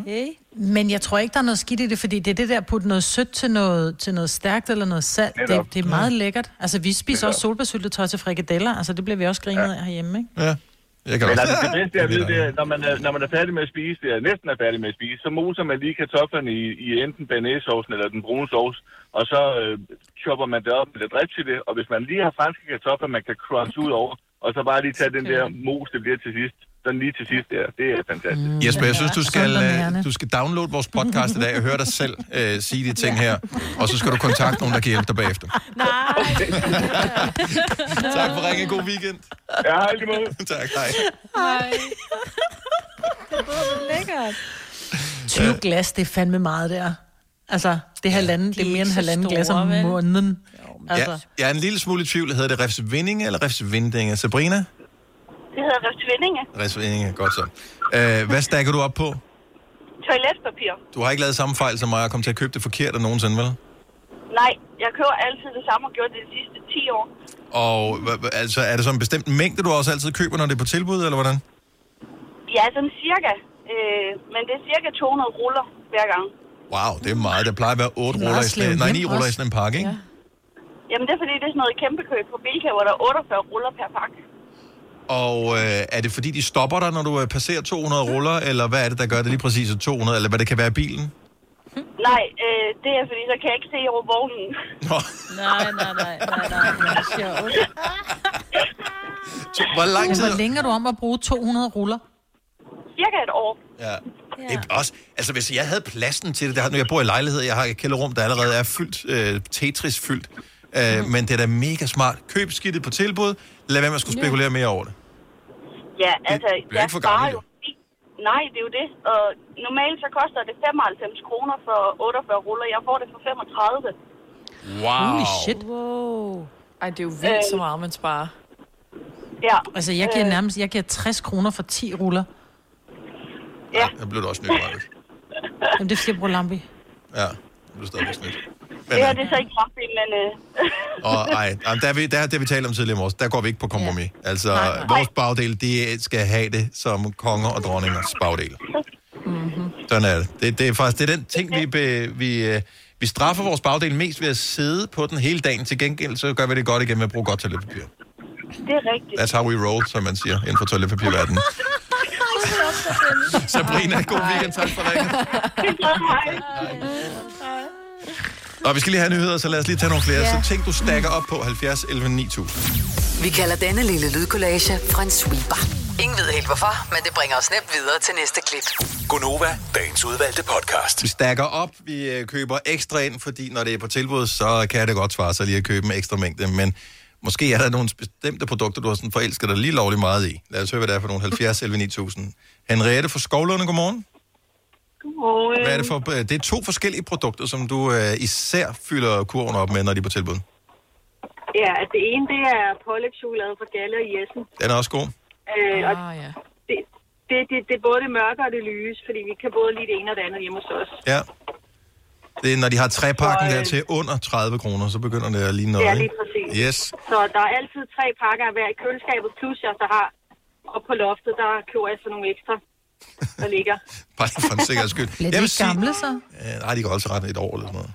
Speaker 2: Okay. Men jeg tror ikke, der er noget skidt i det, fordi det er det der at putte noget sødt til noget, til noget stærkt eller noget salt. Det,
Speaker 19: Netop.
Speaker 2: det, er meget lækkert. Altså, vi spiser
Speaker 19: Netop.
Speaker 2: også solbærsyltetøj til frikadeller. Altså, det bliver vi også grinet af herhjemme, ikke?
Speaker 1: Ja. Jeg kan
Speaker 19: Men
Speaker 1: også-
Speaker 19: altså, det bedste, jeg ved, det er, når man er, når man er færdig med at spise, det er næsten er færdig med at spise, så moser man lige kartoflerne i, i enten banæssovsen eller den brune sovs, og så øh, chopper man det op med lidt repsille, og hvis man lige har franske kartofler, man kan crunch ud over, og så bare lige tage den der mos, det bliver til sidst, den lige til sidst der, det er fantastisk. Mm.
Speaker 1: Jesper, jeg synes, du skal, øh, du skal downloade vores podcast i dag og høre dig selv øh, sige de ting her. Og så skal du kontakte nogen, der kan hjælpe dig bagefter. tak for ringen. God weekend.
Speaker 19: Ja, hej lige måde.
Speaker 1: tak, hej.
Speaker 4: Hej. Lækkert.
Speaker 2: 20 glas, det er fandme meget der. Altså, det er, halvanden, det er mere end halvanden glas om måneden.
Speaker 1: Altså. Ja, jeg er en lille smule i tvivl. Hedder det Refs Vindinge eller Refs Vindinge? Sabrina?
Speaker 13: Det hedder Rift Vindinge.
Speaker 1: Refs Vindinge, godt så. Øh, hvad stakker du op på?
Speaker 13: Toiletpapir.
Speaker 1: Du har ikke lavet samme fejl som mig og kom til at købe det forkerte nogensinde, vel?
Speaker 13: Nej, jeg køber altid det samme og gjort det de sidste 10 år.
Speaker 1: Og hva- hva- altså, er det så en bestemt mængde, du også altid køber, når det er på tilbud, eller hvordan?
Speaker 13: Ja, sådan cirka. Øh, men det er cirka 200 ruller hver gang.
Speaker 1: Wow, det er meget. Der plejer at være otte
Speaker 13: Det er meget
Speaker 1: ruller i
Speaker 13: slemt
Speaker 1: sådan, nej,
Speaker 13: hjem
Speaker 1: ni ruller i
Speaker 13: også.
Speaker 1: sådan en pakke, ikke? Ja.
Speaker 13: Jamen det er fordi, det er sådan noget kæmpe køb på Bilka, hvor der er 48 ruller per pakke.
Speaker 1: Og øh, er det fordi, de stopper dig, når du øh, passerer 200 ruller, eller hvad er det, der gør det lige præcis at 200, eller hvad det kan være i bilen?
Speaker 13: Nej, øh, det er fordi, så kan jeg ikke se over vognen.
Speaker 1: Nå.
Speaker 3: Nej, nej, nej, nej, nej, nej, sjovt.
Speaker 1: Hvor lang tid...
Speaker 2: Hvor længe er du om at bruge 200 ruller?
Speaker 13: Cirka et år.
Speaker 1: Ja. Det er også, altså hvis jeg havde pladsen til det, der, nu jeg bor i lejlighed, jeg har et kælderrum, der allerede er fyldt, øh, Tetris-fyldt, øh, men det er da mega smart. Køb skidtet på tilbud, lad være med at skulle
Speaker 13: Ja.
Speaker 1: spekulere mere over det.
Speaker 13: Ja, altså,
Speaker 1: bliver ikke for gammelt,
Speaker 13: jo. Nej, det er jo det. Og normalt så koster det 95 kroner for 48 ruller. Jeg får det for 35.
Speaker 1: Wow.
Speaker 6: Holy
Speaker 2: shit.
Speaker 3: Wow.
Speaker 6: Ej, det er jo vildt så meget, man sparer.
Speaker 13: Ja. Øh.
Speaker 2: Altså, jeg giver nærmest jeg giver 60 kroner for 10 ruller.
Speaker 13: Ja.
Speaker 1: Jeg blev det også nødt
Speaker 2: Jamen, det er fordi, jeg bruger lampe.
Speaker 1: Ja, det blev stadig snydt. øh,
Speaker 13: Det her det er så ikke kraftigt, men... Øh,
Speaker 1: Og ej, jamen, der, er vi, der, der vi talte om tidligere i morges, der går vi ikke på kompromis. Altså, vores bagdel, de skal have det som konger og dronningers bagdel. Sådan er det. det. Det er faktisk det er den ting, vi, be, vi, øh, vi straffer vores bagdel mest ved at sidde på den hele dagen. Til gengæld, så gør vi det godt igen med at bruge godt toiletpapir.
Speaker 13: det er rigtigt.
Speaker 1: That's how we roll, som man siger inden for toiletpapirverdenen. Sabrina, god weekend. Tak for ringen. Og vi skal lige have nyheder, så lad os lige tage nogle flere.
Speaker 5: Ja.
Speaker 1: Så ting, du stakker op på 70 11 9000.
Speaker 5: Vi kalder denne lille lydkollage en sweeper. Ingen ved helt hvorfor, men det bringer os nemt videre til næste klip.
Speaker 12: Gunova, dagens udvalgte podcast.
Speaker 1: Vi stakker op, vi øh, køber ekstra ind, fordi når det er på tilbud, så kan det godt svare sig lige at købe en ekstra mængde. Men måske er der nogle bestemte produkter, du har sådan forelsket dig lige lovlig meget i. Lad os høre, hvad det er for nogle 70 11 9000. Henriette fra Skovlunde, godmorgen.
Speaker 13: Godmorgen.
Speaker 1: Hvad er det for? øh, Det er to forskellige produkter, som du øh, især fylder kurven op med, når de er på tilbud.
Speaker 13: Ja, at det ene, det er pålægtschokolade fra Galle og Jessen.
Speaker 1: Den er også god.
Speaker 13: Øh, og ja. det, det, det, det er både det mørke og det lyse, fordi vi kan både lide det ene og det andet hjemme hos os.
Speaker 1: Ja. Det er, når de har trepakken der til under 30 kroner, så begynder det at ligne noget.
Speaker 13: øh, Ja,
Speaker 1: ikke?
Speaker 13: lige præcis.
Speaker 1: Yes.
Speaker 13: Så der er altid tre pakker af hver i køleskabet, plus jeg så har op på loftet, der køber jeg så nogle ekstra, der ligger.
Speaker 1: Bare lige for en sikkerheds skyld.
Speaker 2: Bliver de
Speaker 1: Jeg vil
Speaker 2: ikke gamle, så?
Speaker 1: Øh, nej, de kan holde sig ret et år eller sådan noget.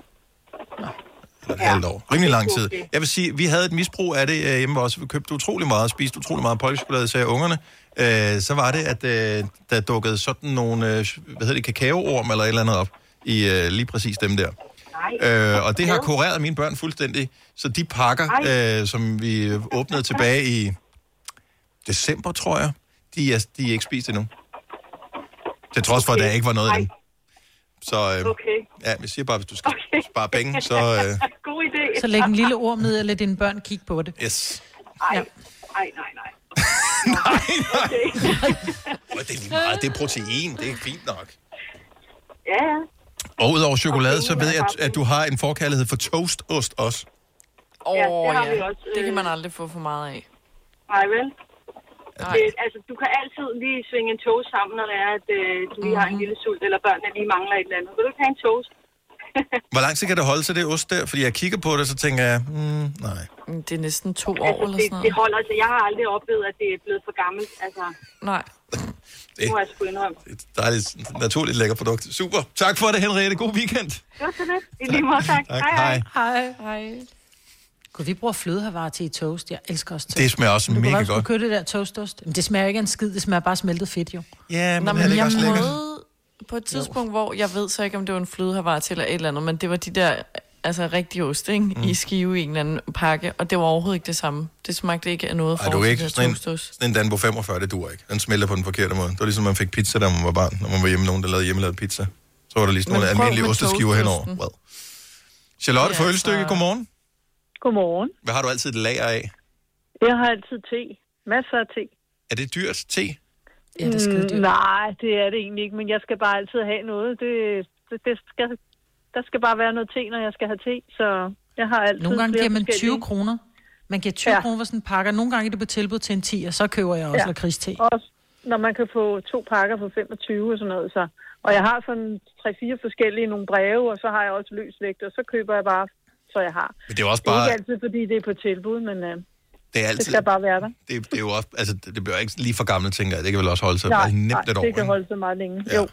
Speaker 1: Eller et halvt år. Rimelig lang tid. Jeg vil sige, vi havde et misbrug af det øh, hjemme også. Vi købte utrolig meget og spiste utrolig meget pålægschokolade, sagde ungerne. Øh, så var det, at øh, der dukkede sådan nogle, øh, hvad hedder det, kakaoorm eller et eller andet op i øh, lige præcis dem der. Øh, og det har kureret mine børn fuldstændig. Så de pakker, øh, som vi åbnede tilbage i december, tror jeg, de er, de er ikke spist endnu. Til trods for, at der ikke var noget af dem. Så øh,
Speaker 13: Okay.
Speaker 1: ja, jeg siger bare, hvis du skal okay. spare penge, så... Øh,
Speaker 13: God idé.
Speaker 2: Så læg en lille orm ned og lad dine børn kigge på det.
Speaker 1: yes.
Speaker 13: Ej, ej, nej, nej.
Speaker 1: Og det er lige meget, det er protein, det er fint nok.
Speaker 13: Ja, ja.
Speaker 1: Og udover chokolade, så ved jeg, at, at du har en forkærlighed for toastost også.
Speaker 6: Åh,
Speaker 13: Ja, det har
Speaker 6: ja,
Speaker 13: vi
Speaker 6: ja.
Speaker 13: også,
Speaker 6: Det kan
Speaker 13: øh,
Speaker 6: man aldrig få for meget af.
Speaker 13: Nej, vel? Det, altså, du kan altid lige svinge en toast sammen, når det er, at øh, du lige har en
Speaker 6: Mhm.
Speaker 13: lille sult, eller børnene lige mangler et eller andet. Vil du ikke have en toast?
Speaker 1: Hvor lang tid kan det holde sig, det ost der? Fordi jeg kigger på det, så tænker jeg, hmm, nej.
Speaker 6: Det er næsten to år
Speaker 13: Altså,
Speaker 6: eller
Speaker 13: det,
Speaker 6: sådan noget.
Speaker 13: det holder altså, Jeg har aldrig oplevet, at det er blevet for gammelt. Altså,
Speaker 6: Nej.
Speaker 13: det må jeg sgu indrømme.
Speaker 1: Dejligt, naturligt lækker produkt. Super. Tak for det, Henriette. God weekend.
Speaker 13: Det var så lidt. I lige måde, tak.
Speaker 1: Tak, hej.
Speaker 2: Hej. Hej. Gud, vi bruger flødehavare til i toast. Jeg elsker også toast.
Speaker 1: Det smager også
Speaker 2: du
Speaker 1: mega
Speaker 2: kan også
Speaker 1: godt.
Speaker 2: Du det der toastost. Men det smager ikke af en skid, det smager bare af smeltet fedt, jo.
Speaker 1: Ja,
Speaker 6: Nå, men jeg prøvede på et tidspunkt, hvor jeg ved så ikke, om det var en flødehavare til eller et eller andet, men det var de der altså rigtig ost, ikke? Mm. I skive i en eller anden pakke, og det var overhovedet ikke det samme. Det smagte ikke af noget
Speaker 1: Ej,
Speaker 6: for
Speaker 1: du er ikke sådan en, sådan en Danbo 45, det dur ikke. Den smelter på den forkerte måde. Det var ligesom, man fik pizza, da man var barn, når man var hjemme nogen, der lavede hjemmelavet pizza. Så var der lige sådan
Speaker 20: Men
Speaker 1: nogle
Speaker 20: prøv
Speaker 1: almindelige
Speaker 20: med
Speaker 1: osteskiver henover.
Speaker 20: toastosten.
Speaker 1: Well. Charlotte ja,
Speaker 20: Ja,
Speaker 1: for Ølstykke,
Speaker 20: altså-
Speaker 1: godmorgen.
Speaker 20: Godmorgen.
Speaker 1: Hvad har du altid et lager af?
Speaker 20: Jeg har altid te. Masser af te.
Speaker 1: Er det dyrt te?
Speaker 20: Ja, det er dyrt. Nej, det er det egentlig ikke, men jeg skal bare altid have noget. Det, det, det skal, der skal bare være noget te, når jeg skal have te, så jeg har altid...
Speaker 2: Nogle gange
Speaker 20: flere
Speaker 2: giver man 20
Speaker 20: forskellige.
Speaker 2: kroner. Man giver 20
Speaker 20: Ja.
Speaker 2: ja. kroner for sådan en pakke, og nogle gange er det på tilbud til en 10, og så køber jeg også ja. lakridste.
Speaker 20: Også når man kan få to pakker for 25 og sådan noget. Så. Og jeg har sådan 3-4 forskellige nogle breve, og så har jeg også løsvægt, og så køber jeg bare, så jeg har.
Speaker 1: Men det er jo også
Speaker 20: Det er
Speaker 1: bare-
Speaker 20: ikke altid, fordi det er på tilbud, men
Speaker 1: Det
Speaker 20: øh,
Speaker 1: er
Speaker 20: det
Speaker 1: altid...
Speaker 20: skal bare være der.
Speaker 1: Det, det, er jo også, altså, det, det bliver ikke lige for gammelt, tænker jeg. Det kan vel også holde sig
Speaker 20: nej,
Speaker 1: bare nemt
Speaker 20: nej,
Speaker 1: et år.
Speaker 20: det
Speaker 1: ikke?
Speaker 20: kan holde sig meget længe. Ja. Jo,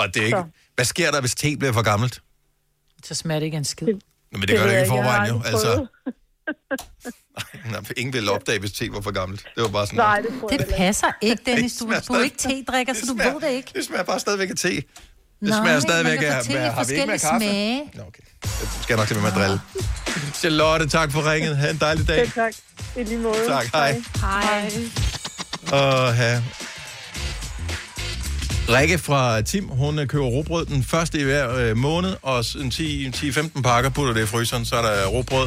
Speaker 1: Og det er ikke... Hvad sker der, hvis te bliver for gammelt?
Speaker 2: Så smager det ikke af en skid.
Speaker 1: Nå, men det, det gør det ikke i forvejen, jo. Altså, Nej, for ingen ville opdage, hvis te var for gammelt. Det var bare sådan
Speaker 20: Nej, det tror jeg
Speaker 2: Det passer ikke, Dennis. Du,
Speaker 1: smager
Speaker 2: du er ikke te-drikker, så du ved det ikke.
Speaker 1: Det smager bare stadigvæk af te. Det
Speaker 2: Nej,
Speaker 1: smager stadigvæk
Speaker 2: man kan
Speaker 1: af,
Speaker 2: få te i
Speaker 1: hvad har vi ikke med
Speaker 2: forskellige
Speaker 1: kaffe?
Speaker 2: smage.
Speaker 1: Nå, okay. Jeg skal jeg nok til med at drille. Charlotte, tak for ringet. Ha' en dejlig dag.
Speaker 20: Selv tak. I lige måde.
Speaker 1: Tak, hej.
Speaker 20: Hej.
Speaker 1: Og have... Rikke fra Tim, hun øh, køber råbrød den første i hver øh, måned, og sådan 10 10-15 pakker putter det i fryseren, så er der råbrød.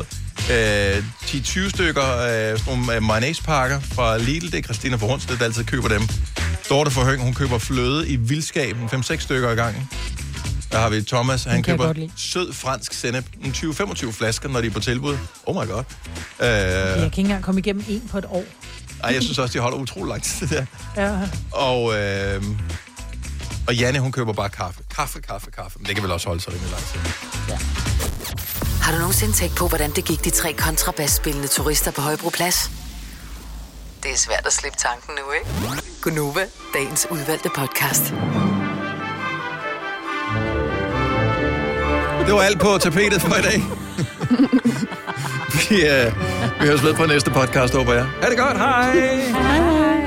Speaker 1: Øh, 10-20 stykker øh, sådan nogle øh, mayonnaise-pakker fra Lidl, det er Christina fra Hornsted, der altid køber dem. Dorte fra Høng, hun køber fløde i vildskaben, 5-6 stykker ad gangen. Der har vi Thomas, han
Speaker 2: kan jeg
Speaker 1: køber
Speaker 2: godt lide.
Speaker 1: sød fransk sennep, en 20-25 flasker, når de er på tilbud. Oh my god. Øh,
Speaker 2: Jeg kan ikke engang komme igennem en på et år.
Speaker 1: ej, jeg synes også, de holder utrolig lang tid, det der.
Speaker 2: Ja.
Speaker 1: Og, øh, og Janne, hun køber bare kaffe. Kaffe, kaffe, kaffe. Men det kan vel også holde sig rimelig lang tid.
Speaker 5: Har du nogensinde tænkt på, hvordan det gik de tre kontrabasspillende turister på Højbroplads? Det er svært at slippe tanken nu, ikke? Gunova, dagens udvalgte podcast.
Speaker 1: Det var alt på tapetet for i dag. vi, øh, vi høres ved på næste podcast, håber jeg. Ha' det godt, hej!
Speaker 4: Hej.